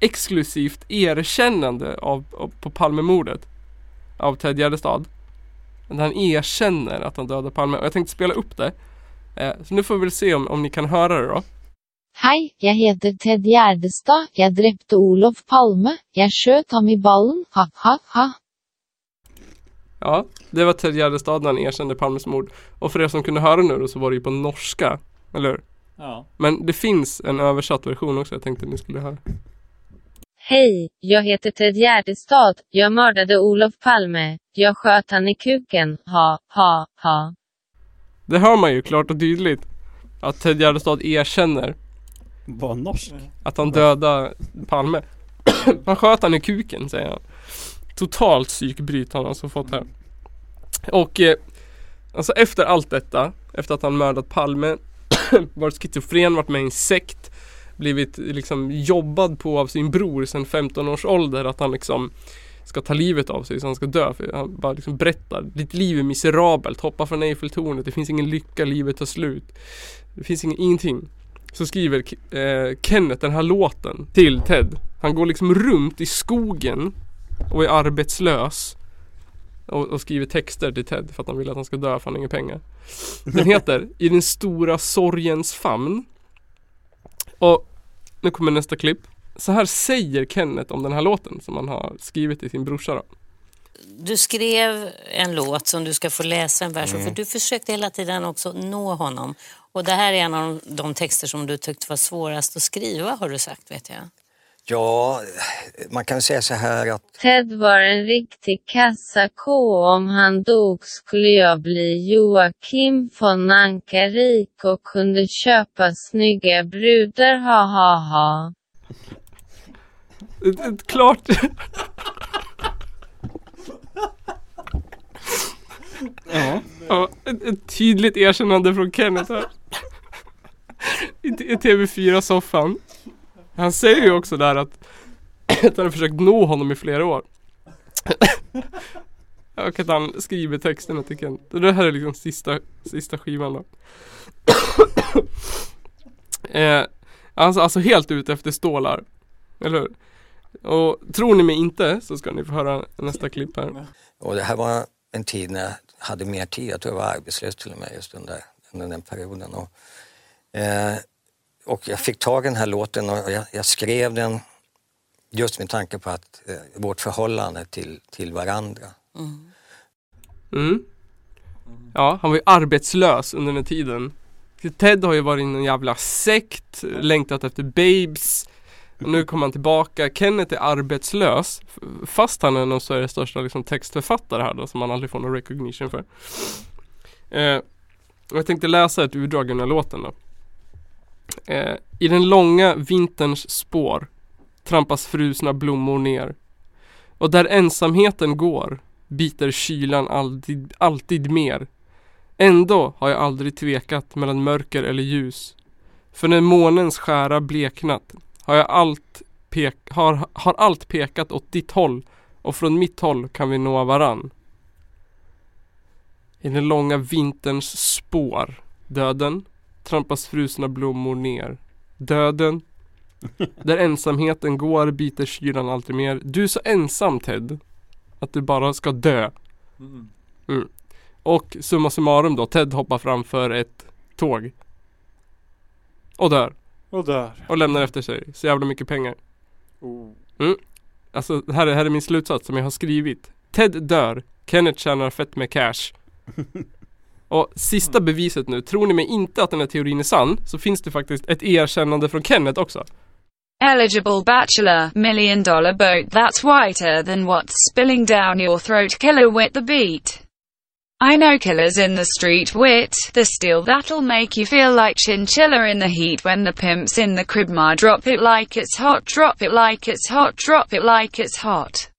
exklusivt erkännande av, av, på Palmemordet av Ted Gärdestad. Där han erkänner att han dödade Palme och jag tänkte spela upp det. Eh, så nu får vi väl se om, om ni kan höra det då.
Hei, jeg heter Ted Gjerdestad, jeg drepte Olof Palme, jeg skjøt ham i ballen, ha-ha-ha.
Ja, det var Ted Gärdestad när han erkände Palmes mord. Och för er som kunde höra nu då så var det ju på norska, eller hur?
Ja.
Men det finns en översatt version också, jag tänkte ni skulle höra.
Hej, jag heter Ted Gärdestad. Jag mördade Olof Palme. Jag sköt han i kuken. Ha, ha, ha.
Det hör man ju klart och tydligt. Att Ted Gärdestad erkänner
Var norsk?
Att han dödade Palme. han sköt han i kuken säger han. Totalt psykbryt har han alltså fått här. Och eh, alltså efter allt detta, efter att han mördat Palme, varit schizofren, varit med i en sekt, blivit liksom jobbad på av sin bror sedan 15 års ålder att han liksom ska ta livet av sig så han ska dö. För han bara liksom berättar, ditt liv är miserabelt, hoppa från Eiffeltornet, det finns ingen lycka, livet tar slut. Det finns ingen, ingenting. Så skriver K- eh, Kenneth den här låten till Ted. Han går liksom runt i skogen och är arbetslös. Och, och skriver texter till Ted för att han vill att han ska dö för han har inga pengar. Den heter I den stora sorgens famn. Och nu kommer nästa klipp. Så här säger Kenneth om den här låten som han har skrivit till sin brorsa då.
Du skrev en låt som du ska få läsa en vers av, för du försökte hela tiden också nå honom. Och det här är en av de texter som du tyckte var svårast att skriva har du sagt vet jag.
Ja, man kan säga så här att
Ted var en riktig kassako. Om han dog skulle jag bli Joakim von Ankarik och kunde köpa snygga brudar. Ha, ha, ha.
Ett, ett klart...
Ja.
Ja, ett, ett tydligt erkännande från Kenneth här. I, t- i TV4-soffan. Han säger ju också där att, att han har försökt nå honom i flera år. Och att han skriver texterna till Kent. Det här är liksom sista, sista skivan då. eh, Alltså, alltså helt ute efter stålar. Eller hur? Och tror ni mig inte så ska ni få höra nästa klipp här.
Och det här var en tid när jag hade mer tid, jag tror jag var arbetslös till och med just under, under den perioden. Och, eh, och jag fick tag i den här låten och jag, jag skrev den just med tanke på att eh, vårt förhållande till, till varandra.
Mm.
Mm. Ja, han var ju arbetslös under den tiden. Ted har ju varit i någon jävla sekt, längtat efter babes. Och nu kommer han tillbaka. Kenneth är arbetslös, f- fast han är en av Sveriges största liksom, textförfattare här då, som han aldrig får någon recognition för. Eh, och jag tänkte läsa ett utdrag ur den här låten då. Eh, I den långa vinterns spår trampas frusna blommor ner. Och där ensamheten går biter kylan alltid, alltid mer. Ändå har jag aldrig tvekat mellan mörker eller ljus. För när månens skära bleknat har, jag allt pek, har, har allt pekat åt ditt håll och från mitt håll kan vi nå varann. I den långa vinterns spår, döden, trampas frusna blommor ner. Döden, där ensamheten går biter kylan alltid mer. Du är så ensam Ted, att du bara ska dö.
Mm.
Och summa summarum då, Ted hoppar framför ett tåg. Och dör.
Och där.
Och lämnar efter sig så jävla mycket pengar.
Oh.
Alltså det här, är- här är min slutsats som jag har skrivit. Ted dör, Kenneth tjänar fett med cash. Och sista beviset nu, tror ni mig inte att den här teorin är sann så finns det faktiskt ett erkännande från Kenneth också.
Eligible bachelor, million dollar boat that's whiter than what's spilling down your throat. Killer wit the beat. I know killers in the street wit, the steel that'll make you feel like chinchilla in the heat when the pimp's in the crib ma drop it like it's hot, drop it like it's hot, drop it like it's hot.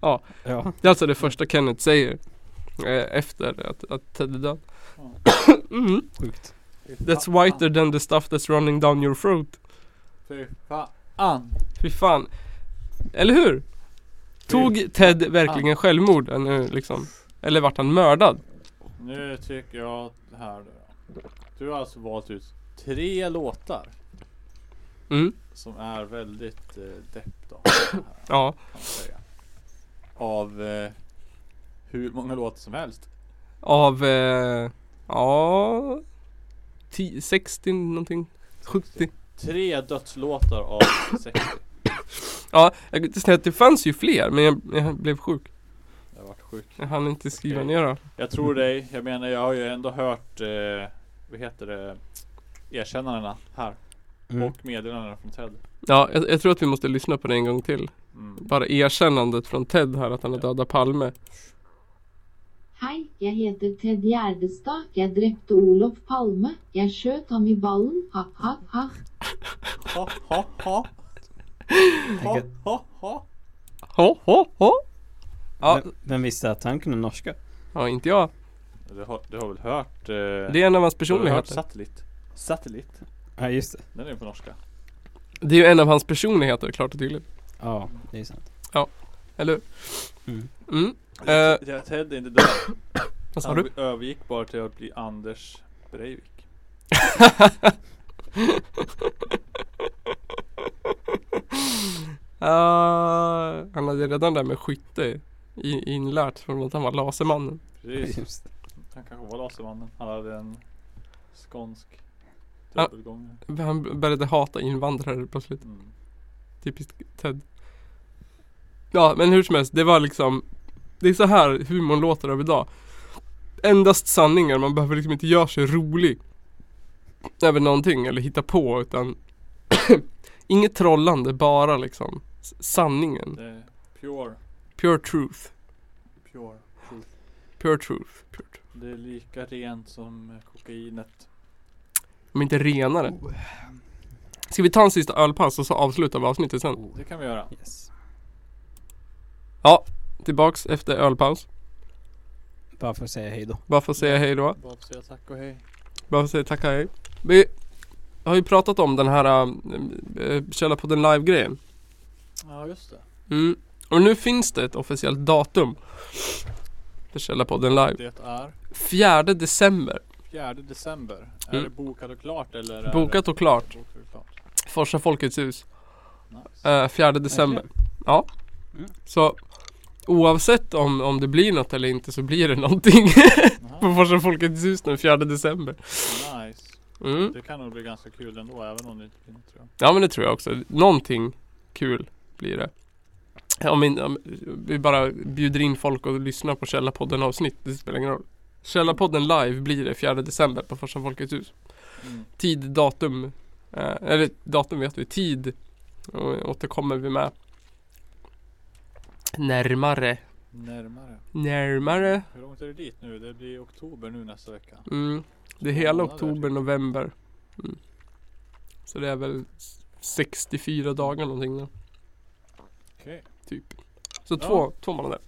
Ja.
Det är alltså det första Kenneth säger. Eh, efter att, att Ted är död. mm.
Sjukt.
That's whiter than the stuff that's running down your throat.
Fy fan.
Fy fan. Eller hur?
Mm.
Tog Ted verkligen självmord eh, nu liksom? Eller vart han mördad?
Nu tycker jag att det här då. Du har alltså valt ut tre låtar
Mm,
som är väldigt eh, depp då. Här.
ja.
kan man säga. Av eh, hur många låtar som helst.
Av, eh, ja... 10, 60 någonting. 70.
Tre dödslåtar av 60.
Ja, jag tänkte säga att det fanns ju fler men jag, jag blev sjuk.
Jag har varit sjuk.
Jag hann inte skriva
Okej.
ner det.
Jag tror dig. Jag menar jag har ju ändå hört, eh, vad heter det, erkännandena här.
Mm.
Och meddelandena från Ted.
Ja, jag, jag tror att vi måste lyssna på det en gång till.
Mm.
Bara erkännandet från Ted här att han har dödat Palme.
Hei, jeg heter Ted Gjerdestad. Jeg drepte Olof Palme. Jeg skjøt ham i ballen. Ha, ha, ha.
Ha, ha, ha. Ha, ha, ha.
Ho, ho, ho! Ja,
Vem, vem visste att han kunde norska?
ja inte jag.
Du har, du har väl hört? Eh,
Det är en av hans
har du hört
personligheter.
satellit? Satellit?
Ja just det.
Den är ju på norska.
Det är ju en av hans personligheter, klart och tydligt.
Ja, det är sant.
Eller
Mm.
Mm. Eh,
Uh, Ted är inte död.
vad sa
Han
du?
övergick bara till att bli Anders Breivik.
Ah, han hade redan det där med skytte i- inlärt från att han var lasermannen.
Precis.
Just det.
Han kanske var Lasermannen. Han hade en skånsk
Ja.
dubbelgångare.
Han började hata invandrare plötsligt.
Mm.
Typiskt Ted. Ja, men hur som helst, det var liksom Det är så här humorn låter av idag. Endast sanningar, man behöver liksom inte göra sig rolig. Över någonting eller hitta på utan Inget trollande, bara liksom s- sanningen.
Det är pure,
Pure truth.
pure truth.
Pure truth. Pure truth.
Det är lika rent som kokainet.
De är inte renare. Ska vi ta en sista ölpaus och så avslutar vi avsnittet sen?
Det kan vi göra.
Yes.
Tillbaks efter ölpaus.
Bara för att säga hejdå.
Bara för att säga hej då.
Bara får säga tack och hej.
Bara säga tacka hej. Vi har ju pratat om den här äh, Källarpodden live-grejen.
Ja just det.
Mm. Och nu finns det ett officiellt datum för Källarpodden live.
Det är
4 december.
4 december. Är
Mm.
det bokat och klart eller? är det-
Bokat och klart.
Bokat och klart.
Forsa Folkets hus.
Nice.
Eh, 4 december. Ja.
Mm.
Så oavsett om, om det blir något eller inte så blir det någonting på Forsa Folkets hus den 4 december.
nice.
Mm.
Det kan nog bli ganska kul ändå även om det inte blir något tror jag.
Ja men det tror jag också. Någonting kul blir det. Om, in, om vi bara bjuder in folk och lyssnar på Källarpodden avsnitt, det spelar ingen roll. Källarpodden live blir det 4 december på Forsa Folkets hus.
Mm.
Tid, datum, eh, eller datum vet vi, tid eh, återkommer vi med. Närmare,
Närmare.
närmare.
Hur långt är det dit nu? Det blir oktober nu nästa vecka.
Mm. Det är
Två
hela
månader,
oktober,
typ.
november. Mm. Så det är väl 64 dagar någonting då.
Okej.
Typ. Så
Ja.
två, två månader.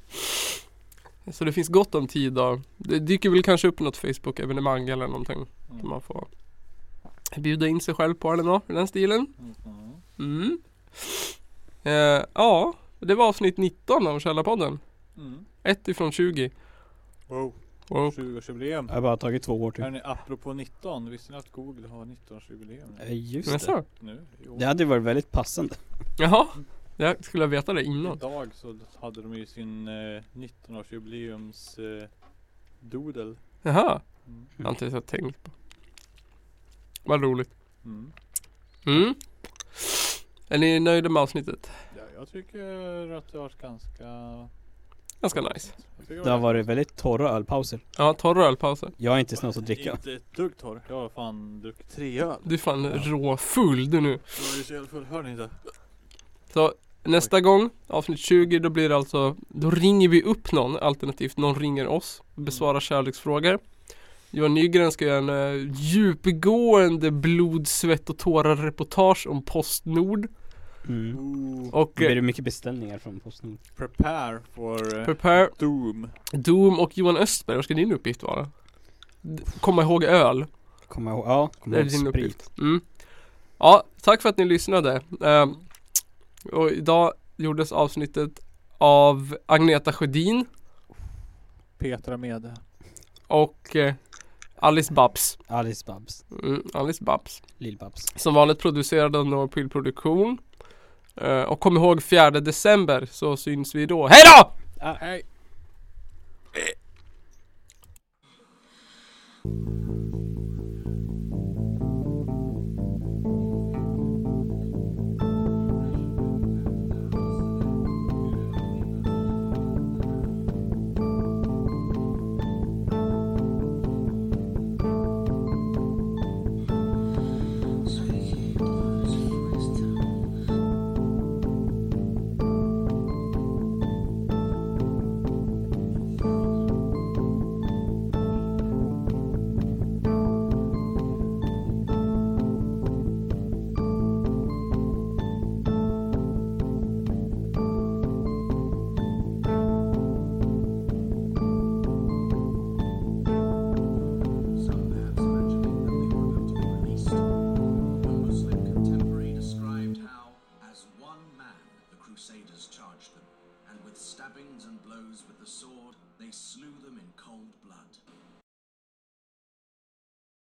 Så det finns gott om tid då. Det dyker väl kanske upp något Facebook-evenemang eller någonting. Som
Mm.
man får bjuda in sig själv på eller något i den stilen.
Mm. Mm.
Mm. Eh, ja, det var avsnitt 19 av Källarpodden.
Mm.
Ett ifrån 20.
Wow.
Och
20-årsjubileum.
Jag har bara tagit två år till.
Hörni, apropå 19. Visste ni att Google har 19-årsjubileum
Eh, Just det.
nästa.
nu? Jo.
Det hade varit väldigt passande.
Jaha, jag skulle veta det innan.
Idag så hade de ju sin eh, 19-årsjubileums eh, doodle.
Jaha,
Mm.
jag har inte ens tänkt på. Vad roligt.
Mm.
Mm. Är ni nöjda med avsnittet?
Ja, jag tycker att det har varit ganska...
Ganska nice.
Jag tycker
Det har varit väldigt torra ölpauser.
Ja, torra ölpauser.
Jag är inte snart att dricka.
Inte ett dugg torr. Jag har fan druckit tre öl.
Du är fan råfull du nu.
Jag var ju så jävla full, hör ni inte?
Så nästa gång, avsnitt 20, då blir det alltså Då ringer vi upp någon, alternativt någon ringer oss
Mm.
Besvarar kärleksfrågor Johan Nygren ska göra en eh, djupgående blod, svett och tårar reportage om Postnord
Mm.
Ooh.
Och
Det
eh,
blir mycket beställningar från Postnord.
Prepare for eh,
Prepare,
Doom.
Doom och Johan Östberg, vad ska din uppgift vara? D- Komma ihåg öl
Kommer jag ihåg? Ja, kommer
Det är
jag
din
ihåg sprit.
uppgift. Mm. Ja, tack för att ni lyssnade. Ehm, och idag gjordes avsnittet av Agneta Sjödin
Petra med.
och eh, Alice Babs.
Alice Babs.
Mm, Alice Babs.
Lill-Babs.
Som vanligt producerad av Noah Pill Produktion. Eh, och kom ihåg 4 december så syns vi då. Hej då!
Ah,
Hej!
Stabbings and blows with the sword, they slew them in cold